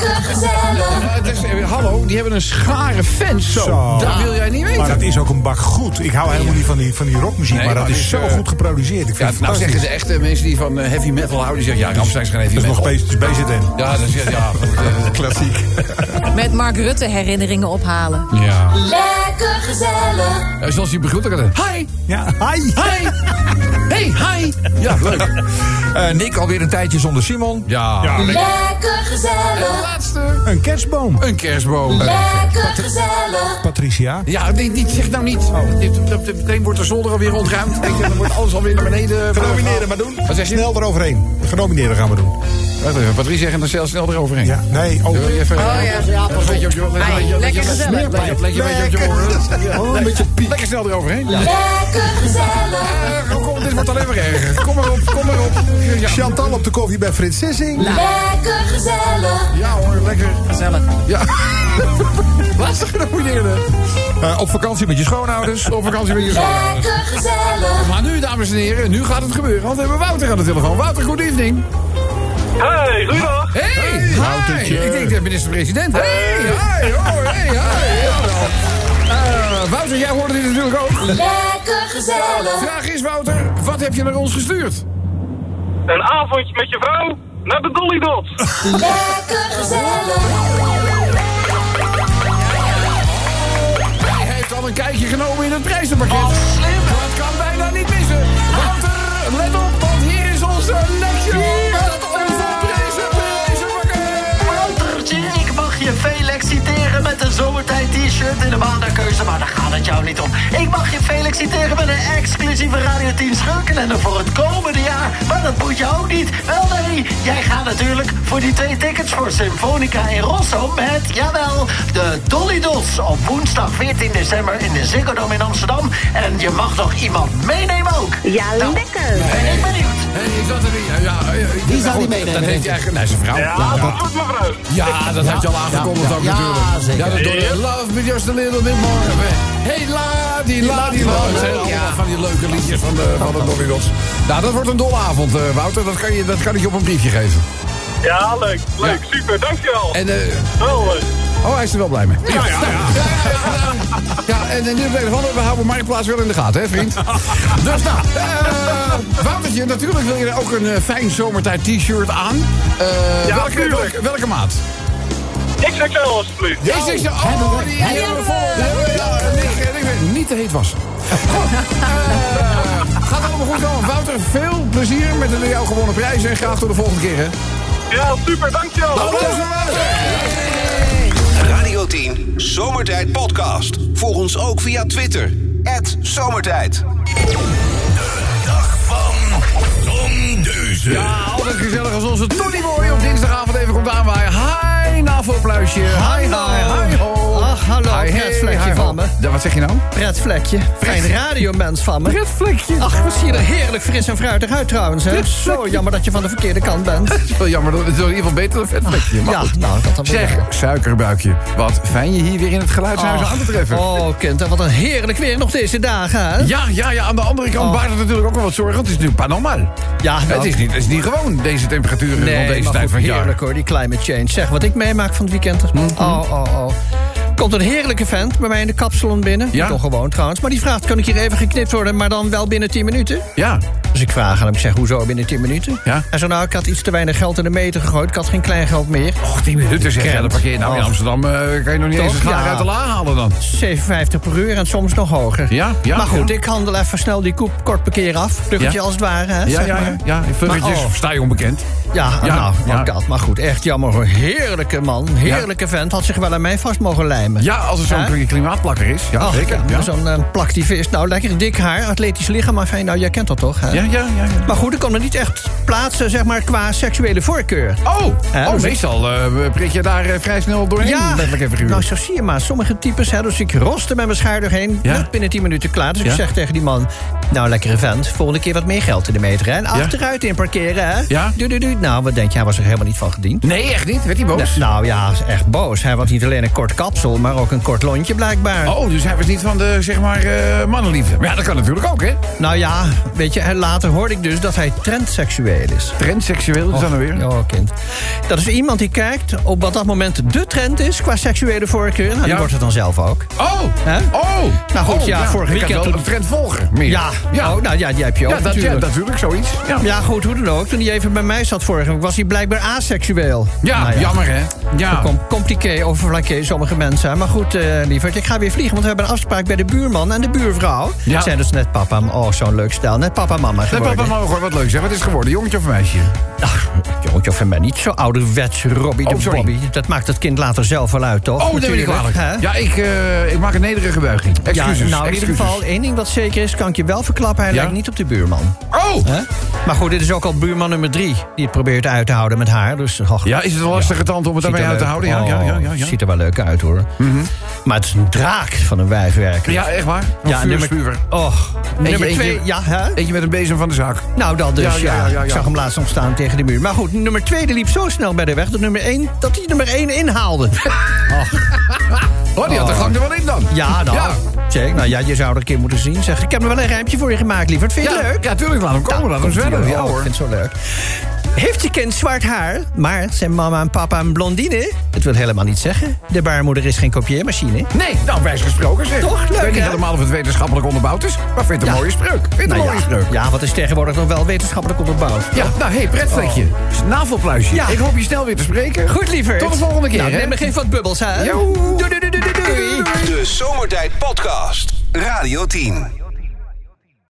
[SPEAKER 6] gezellig.
[SPEAKER 2] Ja, het is, eh, hallo, die hebben een schare fans. Zo.
[SPEAKER 5] Zo.
[SPEAKER 2] Dat wil jij niet weten.
[SPEAKER 5] Maar dat is ook een bak goed. Ik hou helemaal niet van die, van die rockmuziek,
[SPEAKER 2] Nee,
[SPEAKER 5] maar
[SPEAKER 2] maar
[SPEAKER 5] dat is
[SPEAKER 2] dit,
[SPEAKER 5] zo
[SPEAKER 2] eh,
[SPEAKER 5] goed geproduceerd. Ik
[SPEAKER 2] ja,
[SPEAKER 5] vind het
[SPEAKER 2] nou zeggen
[SPEAKER 5] fantastisch.
[SPEAKER 2] ze echt, eh, mensen die van eh, heavy metal houden, die zeggen ja, Ramstein is geen heavy
[SPEAKER 5] Dat is nog dus
[SPEAKER 2] metal.
[SPEAKER 5] steeds het is BZN.
[SPEAKER 2] ja, dat is ja, klassiek.
[SPEAKER 7] Met Mark Rutte herinneringen ophalen.
[SPEAKER 5] (laughs)
[SPEAKER 2] Ja.
[SPEAKER 6] Lekker gezellig.
[SPEAKER 2] Eh, Zoals die begroet, dan kan het. Hi!
[SPEAKER 5] Ja, hi.
[SPEAKER 2] Hi! Hey, hi! Ja, leuk.
[SPEAKER 11] Eh, Nick alweer een tijdje zonder Simon.
[SPEAKER 2] ja.
[SPEAKER 6] Lekker gezellig.
[SPEAKER 2] Laatste.
[SPEAKER 5] Een kerstboom.
[SPEAKER 2] Een kerstboom.
[SPEAKER 6] Lekker gezellig.
[SPEAKER 5] Patricia.
[SPEAKER 2] Ja, nee, niet, zeg nou niet. Dit- dat- dat- Meteen wordt de zolder alweer ontruimd. Weet je, Dan wordt alles alweer naar beneden.
[SPEAKER 5] Genomineerden maar doen.
[SPEAKER 2] Wat zeg je? eh,
[SPEAKER 5] Snel eroverheen. Genomineerden gaan we doen.
[SPEAKER 2] Wacht even, Patrice en dan zelf snel eroverheen.
[SPEAKER 5] Ja, nee. Oh,
[SPEAKER 2] Wil je even- Pas een beetje op je- let- let- let-
[SPEAKER 7] lekker
[SPEAKER 2] let-
[SPEAKER 7] gezellig.
[SPEAKER 2] let- let- let- let- let- let- let- let- let- let- Lekker snel eroverheen. Ja.
[SPEAKER 6] Lekker gezellig.
[SPEAKER 2] Eh, kom, dit wordt alleen maar erger. Kom maar op, kom maar op. Ja,
[SPEAKER 5] Chantal op de koffie bij Frits Sissing.
[SPEAKER 6] Lekker gezellig.
[SPEAKER 2] ja hoor, lekker. Gezellig. Ja. (laughs) Laatste genomineerde.
[SPEAKER 11] Eh, op vakantie met je schoonouders.
[SPEAKER 2] Op vakantie met je zoon.
[SPEAKER 6] Lekker gezellig.
[SPEAKER 2] Maar nu, dames en heren, nu gaat het gebeuren. Want we hebben Wouter aan de telefoon. Wouter, good evening.
[SPEAKER 12] Hey, goeiedag.
[SPEAKER 2] Hey, hi. Ik denk de minister-president. Hey, hi, oh, hey, (laughs) hi. Jawel. Eh, Wouter, jij hoorde dit natuurlijk ook.
[SPEAKER 6] Lekker gezellig.
[SPEAKER 2] Vraag is, Wouter, wat heb je naar ons gestuurd?
[SPEAKER 12] Een avondje met je vrouw naar de Dolly Dots.
[SPEAKER 6] Lekker gezellig.
[SPEAKER 2] Hij heeft al een kijkje genomen in het prijzenpakket. slim. Dat kan bijna niet missen. Wouter, let op, want hier is onze netje. Met onze prijzen,
[SPEAKER 10] Woutertje, ik mag je veel exciteren met een zomertijd t-shirt in de maandagkeuze, maar daar gaat het jou niet om. Ik mag je veel exciteren met een exclusieve Radio 10 schurkenende voor het komende jaar, maar dat moet je ook niet. Wel nee, jij gaat natuurlijk voor die twee tickets voor Symfonica in Rosso met, jawel, de Dolly Dots op woensdag 14 december in de Ziggo Dome in Amsterdam. En je mag nog iemand meenemen ook. Ja, lekker. Ben ik benieuwd.
[SPEAKER 2] ik zat er niet. Ja, ja,
[SPEAKER 9] Wie zou die
[SPEAKER 2] Goed,
[SPEAKER 9] meenemen,
[SPEAKER 2] Dat heeft
[SPEAKER 9] denk
[SPEAKER 2] hij
[SPEAKER 9] je?
[SPEAKER 2] eigenlijk... Nee, zijn vrouw. Ja, dat, ja, dat
[SPEAKER 9] Ja,
[SPEAKER 2] heeft hij al aangekondigd
[SPEAKER 9] ja,
[SPEAKER 2] ook
[SPEAKER 9] ja,
[SPEAKER 2] natuurlijk.
[SPEAKER 9] zeker.
[SPEAKER 2] Ja, dat doe je. Love me just a little bit more. Hey, la die la die la. Dat zijn allemaal van die leuke liedjes van de, van de Dolly Dots. Nou, dat wordt een dolle avond, eh, Wouter. Dat kan, je, dat kan ik je op een briefje geven.
[SPEAKER 12] Ja, leuk. Leuk, super, dankjewel.
[SPEAKER 2] En, eh,
[SPEAKER 12] Wel leuk.
[SPEAKER 2] Oh, hij is er wel blij mee. Ja, ja, ja. Ja, en in ieder geval, we houden Marktplaats wel in de gaten,
[SPEAKER 12] (laughs)
[SPEAKER 2] hè, vriend? Dus nou, eh Woutertje, natuurlijk wil je er ook een eh, fijn zomertijd t-shirt aan. Eh,
[SPEAKER 12] Ja,
[SPEAKER 2] welke,
[SPEAKER 12] tuurlijk.
[SPEAKER 2] welke, welke maat?
[SPEAKER 12] XXL alsjeblieft.
[SPEAKER 2] Is dit je? Oh, die hebben we vol. Ja, en ik- en ik weet Niet te heet was. Goed, eh, Gaat allemaal goed komen. Wouter, veel plezier met de door jou gewonnen prijzen. En graag tot de volgende keer, hè.
[SPEAKER 12] Ja, super, dankjewel.
[SPEAKER 1] Radio 10 Zomertijd Podcast. Volg ons ook via Twitter. Zomertijd.
[SPEAKER 2] Ja, altijd gezellig als onze Tony Boy op dinsdagavond even komt aanwaaien. Hi, NAVO-pluisje. Hi, hi, hi, ho.
[SPEAKER 13] Ach, hallo,
[SPEAKER 2] Hi, hey,
[SPEAKER 13] pretvlekje
[SPEAKER 2] hi, ho.
[SPEAKER 13] van me.
[SPEAKER 2] Ja, wat zeg je nou?
[SPEAKER 13] Pretvlekje. Fijn radiomens van me.
[SPEAKER 2] Pretvlekje.
[SPEAKER 13] Ach, wat zie je er heerlijk fris en fruitig uit trouwens, hè? Zo jammer dat je van de verkeerde kant
[SPEAKER 2] (laughs)
[SPEAKER 13] bent.
[SPEAKER 2] Het is wel jammer, het is wel in ieder geval beter dan vetvlekje. Maar
[SPEAKER 13] Ja,
[SPEAKER 2] goed.
[SPEAKER 13] nou, dat dan weer
[SPEAKER 2] Zeg,
[SPEAKER 13] wel.
[SPEAKER 2] suikerbuikje, wat fijn je hier weer in het geluidshuis
[SPEAKER 13] Ach,
[SPEAKER 2] aan te treffen.
[SPEAKER 13] Oh, kind, en wat een heerlijk weer nog deze dagen, hè?
[SPEAKER 2] Ja, ja, ja, aan de andere kant
[SPEAKER 13] Oh.
[SPEAKER 2] baart het natuurlijk ook wel wat zorgen. want Het is nu paranormaal.
[SPEAKER 13] Ja, nou.
[SPEAKER 2] het, is niet, het is niet gewoon deze temperaturen rond
[SPEAKER 13] Nee,
[SPEAKER 2] deze
[SPEAKER 13] maar
[SPEAKER 2] tijd van
[SPEAKER 13] goed,
[SPEAKER 2] het jaar. Mhm.
[SPEAKER 13] heerlijk hoor, die climate change. Zeg, wat ik meemaak van het weekend. Oh, oh, oh. Komt een heerlijke vent bij mij in de kapsalon binnen.
[SPEAKER 2] Ja?
[SPEAKER 13] Toch gewoon trouwens. Maar die vraagt, kan ik hier even geknipt worden, maar dan wel binnen 10 minuten?
[SPEAKER 2] Ja.
[SPEAKER 13] Dus ik vraag aan hem, ik zeg, hoezo binnen 10 minuten?
[SPEAKER 2] Ja.
[SPEAKER 13] Hij zei, nou, ik had iets te weinig geld in de meter gegooid. Ik had geen kleingeld meer.
[SPEAKER 2] Och, 10 minuten zeg je,
[SPEAKER 13] Krent.
[SPEAKER 2] dan parkeer je nou in
[SPEAKER 13] Och.
[SPEAKER 2] Amsterdam. eh, kan je nog niet
[SPEAKER 13] Toch?
[SPEAKER 2] eens een schaar
[SPEAKER 13] Ja.
[SPEAKER 2] uit de la halen dan.
[SPEAKER 13] 57 per uur en soms nog hoger.
[SPEAKER 2] Ja, ja,
[SPEAKER 13] maar goed,
[SPEAKER 2] ja.
[SPEAKER 13] ik handel even snel die koep kort parkeer af. Vluggetje
[SPEAKER 2] Ja.
[SPEAKER 13] als het ware, hè,
[SPEAKER 2] Ja,
[SPEAKER 13] zeg
[SPEAKER 2] ja,
[SPEAKER 13] maar.
[SPEAKER 2] ja, ja. Vuggetjes,
[SPEAKER 13] Maar, oh.
[SPEAKER 2] sta je onbekend.
[SPEAKER 13] Ja,
[SPEAKER 2] Ja,
[SPEAKER 13] nou,
[SPEAKER 2] ja.
[SPEAKER 13] ook dat. Maar goed, echt jammer hoor. Heerlijke man, heerlijke vent. Had zich wel aan mij vast mogen lijmen.
[SPEAKER 2] Ja, als het zo'n
[SPEAKER 13] Hè?
[SPEAKER 2] klimaatplakker is. Ja,
[SPEAKER 13] Ach,
[SPEAKER 2] zeker. Ja.
[SPEAKER 13] Zo'n eh, plaktivist. Nou, lekker dik haar, atletisch lichaam. Maar fijn, nou, jij kent dat toch? Hè?
[SPEAKER 2] Ja, ja, ja, ja.
[SPEAKER 13] Maar goed, ik kon er niet echt plaatsen, zeg maar, qua seksuele voorkeur.
[SPEAKER 2] Oh,
[SPEAKER 13] Hè,
[SPEAKER 2] oh
[SPEAKER 13] dus ik-
[SPEAKER 2] meestal eh prik je daar eh, vrij snel doorheen. Letterlijk even figuurlijk.
[SPEAKER 13] nou zo zie je maar. Sommige types, hè, dus ik roste met mijn schaar doorheen.
[SPEAKER 2] Ja.
[SPEAKER 13] Net binnen 10 minuten klaar. Dus
[SPEAKER 2] Ja.
[SPEAKER 13] ik zeg tegen die man... Nou, lekkere vent, volgende keer wat meer geld in de meter. Hè? En achteruit in parkeren, hè?
[SPEAKER 2] Ja.
[SPEAKER 13] Doe, doe, doe. Nou, wat denk je, hij was er helemaal niet van gediend.
[SPEAKER 2] Nee, echt niet? Werd hij boos?
[SPEAKER 13] Nee, nou ja, hij is echt boos. Hij had niet alleen een kort kapsel, maar ook een kort lontje blijkbaar.
[SPEAKER 2] Oh, dus hij was niet van de, zeg maar, eh, mannenliefde. Maar ja, dat kan natuurlijk ook, hè?
[SPEAKER 13] Nou ja, weet je, en later hoorde ik dus dat hij trendseksueel is.
[SPEAKER 2] Trendseksueel, is dat nou weer?
[SPEAKER 13] Oh. Ja, kind. Dat is iemand die kijkt op wat dat moment de trend is qua seksuele voorkeur. Nou,
[SPEAKER 2] Ja.
[SPEAKER 13] die wordt het dan zelf ook.
[SPEAKER 2] Oh!
[SPEAKER 13] Hè?
[SPEAKER 2] Oh!
[SPEAKER 13] Nou goed,
[SPEAKER 2] Oh,
[SPEAKER 13] ja, vorig
[SPEAKER 2] ik
[SPEAKER 13] weekend
[SPEAKER 2] had wel
[SPEAKER 13] toen-
[SPEAKER 2] een trend volgen. Meer.
[SPEAKER 13] Ja,
[SPEAKER 2] Ja.
[SPEAKER 13] Oh, nou ja, die heb je ook
[SPEAKER 2] Ja, dat, ja,
[SPEAKER 13] natuurlijk.
[SPEAKER 2] natuurlijk, zoiets. Ja, ja.
[SPEAKER 13] Ja, goed, hoe dan ook. Toen hij even bij mij zat vorige week, was hij blijkbaar aseksueel. Nou
[SPEAKER 2] jammer, hè? Ja.
[SPEAKER 13] Kom, compliqué over flanqué, sommige mensen. hè. Maar goed, eh lieverd, ik ga weer vliegen, want we hebben een afspraak bij de buurman en de buurvrouw.
[SPEAKER 2] Ja.
[SPEAKER 13] Zijn dus net papa en oh, zo'n leuk stel. Net papa en mama
[SPEAKER 2] Nee,
[SPEAKER 13] geworden.
[SPEAKER 2] papa mag gewoon wat leuk zijn. Wat is het geworden? Jongetje of meisje?
[SPEAKER 13] Ach, jongetje, of mij niet zo ouderwets, Robbie
[SPEAKER 2] Oh,
[SPEAKER 13] de
[SPEAKER 2] sorry.
[SPEAKER 13] Bobby. Dat maakt het kind later zelf wel uit, toch?
[SPEAKER 2] Oh, dat ben ik
[SPEAKER 13] Natuurlijk,
[SPEAKER 2] kwalijk.
[SPEAKER 13] hè?
[SPEAKER 2] Ja, ik, eh, ik maak een nederige buiging.
[SPEAKER 13] Ja,
[SPEAKER 2] Excuses.
[SPEAKER 13] nou, in ieder
[SPEAKER 2] excuses.
[SPEAKER 13] geval, één ding wat zeker is, kan ik je wel verklappen. Hij
[SPEAKER 2] Ja?
[SPEAKER 13] lijkt niet op de buurman.
[SPEAKER 2] Oh!
[SPEAKER 13] Hè? Maar goed, dit is ook al buurman nummer drie die het probeert uit te houden met haar. Dus, och,
[SPEAKER 2] Ja, is het een lastige tand om het
[SPEAKER 13] ziet
[SPEAKER 2] daarmee
[SPEAKER 13] er
[SPEAKER 2] uit te
[SPEAKER 13] leuk-
[SPEAKER 2] houden? Ja, ja,
[SPEAKER 13] oh,
[SPEAKER 2] ja, ja, ja. Mhm.
[SPEAKER 13] Ziet er wel leuk uit hoor. Maar het is een draak van een wijfwerker.
[SPEAKER 2] Ja, echt waar. Een
[SPEAKER 13] Ja, nummer,
[SPEAKER 2] vuurspuwer.
[SPEAKER 13] och, nummer
[SPEAKER 2] eentje-
[SPEAKER 13] twee. Ja, hè?
[SPEAKER 2] Eentje met een bezem van de zaak.
[SPEAKER 13] Nou, dat dus,
[SPEAKER 2] Ja,
[SPEAKER 13] ja,
[SPEAKER 2] ja, ja, ja, ja.
[SPEAKER 13] Ik zag hem laatst nog staan tegen de muur. Maar goed, nummer 2 liep zo snel bij de weg dat nummer 1 dat hij nummer 1
[SPEAKER 2] (laughs)
[SPEAKER 13] inhaalde.
[SPEAKER 2] Oh, die had de
[SPEAKER 13] Oh.
[SPEAKER 2] gang er wel in dan.
[SPEAKER 13] Ja, nou.
[SPEAKER 2] Ja.
[SPEAKER 13] Check, nou ja, je zou er een keer moeten zien. Zeg, ik heb er wel een rijmpje voor je gemaakt, lieverd. Vind je
[SPEAKER 2] Ja,
[SPEAKER 13] het leuk? Oh, Nou,
[SPEAKER 2] Ja, tuurlijk. Laat hem komen. Laat hem
[SPEAKER 13] Komt-ie
[SPEAKER 2] zwemmen.
[SPEAKER 13] wel.
[SPEAKER 2] Ja,
[SPEAKER 13] Ik
[SPEAKER 2] hoor.
[SPEAKER 13] vind het zo leuk. Heeft je kind zwart haar, maar zijn mama en papa een blondine? Het wil helemaal niet zeggen. De baarmoeder is geen kopieermachine.
[SPEAKER 2] Nee, nou, wijs gesproken zeg.
[SPEAKER 13] Toch?
[SPEAKER 2] Ik
[SPEAKER 13] Leuk,
[SPEAKER 2] weet niet
[SPEAKER 13] hè?
[SPEAKER 2] helemaal of het wetenschappelijk onderbouwd is, maar vind het een
[SPEAKER 13] Ja.
[SPEAKER 2] mooie spreuk. Vind het
[SPEAKER 13] Nou
[SPEAKER 2] een
[SPEAKER 13] ja.
[SPEAKER 2] mooie spreuk.
[SPEAKER 13] Ja, wat is tegenwoordig nog wel wetenschappelijk onderbouwd? Oh.
[SPEAKER 2] Ja, nou, hey, pretfletje. Navelpluisje.
[SPEAKER 13] Ja.
[SPEAKER 2] Ik hoop je snel weer te spreken.
[SPEAKER 13] Goed, liever.
[SPEAKER 2] Tot de volgende keer,
[SPEAKER 13] Nou,
[SPEAKER 2] hè?
[SPEAKER 13] neem me geen vatbubbels, hè?
[SPEAKER 2] Joe.
[SPEAKER 13] Doei, doei, doei, doei, doei.
[SPEAKER 1] De Zomertijd Podcast. Radio 10.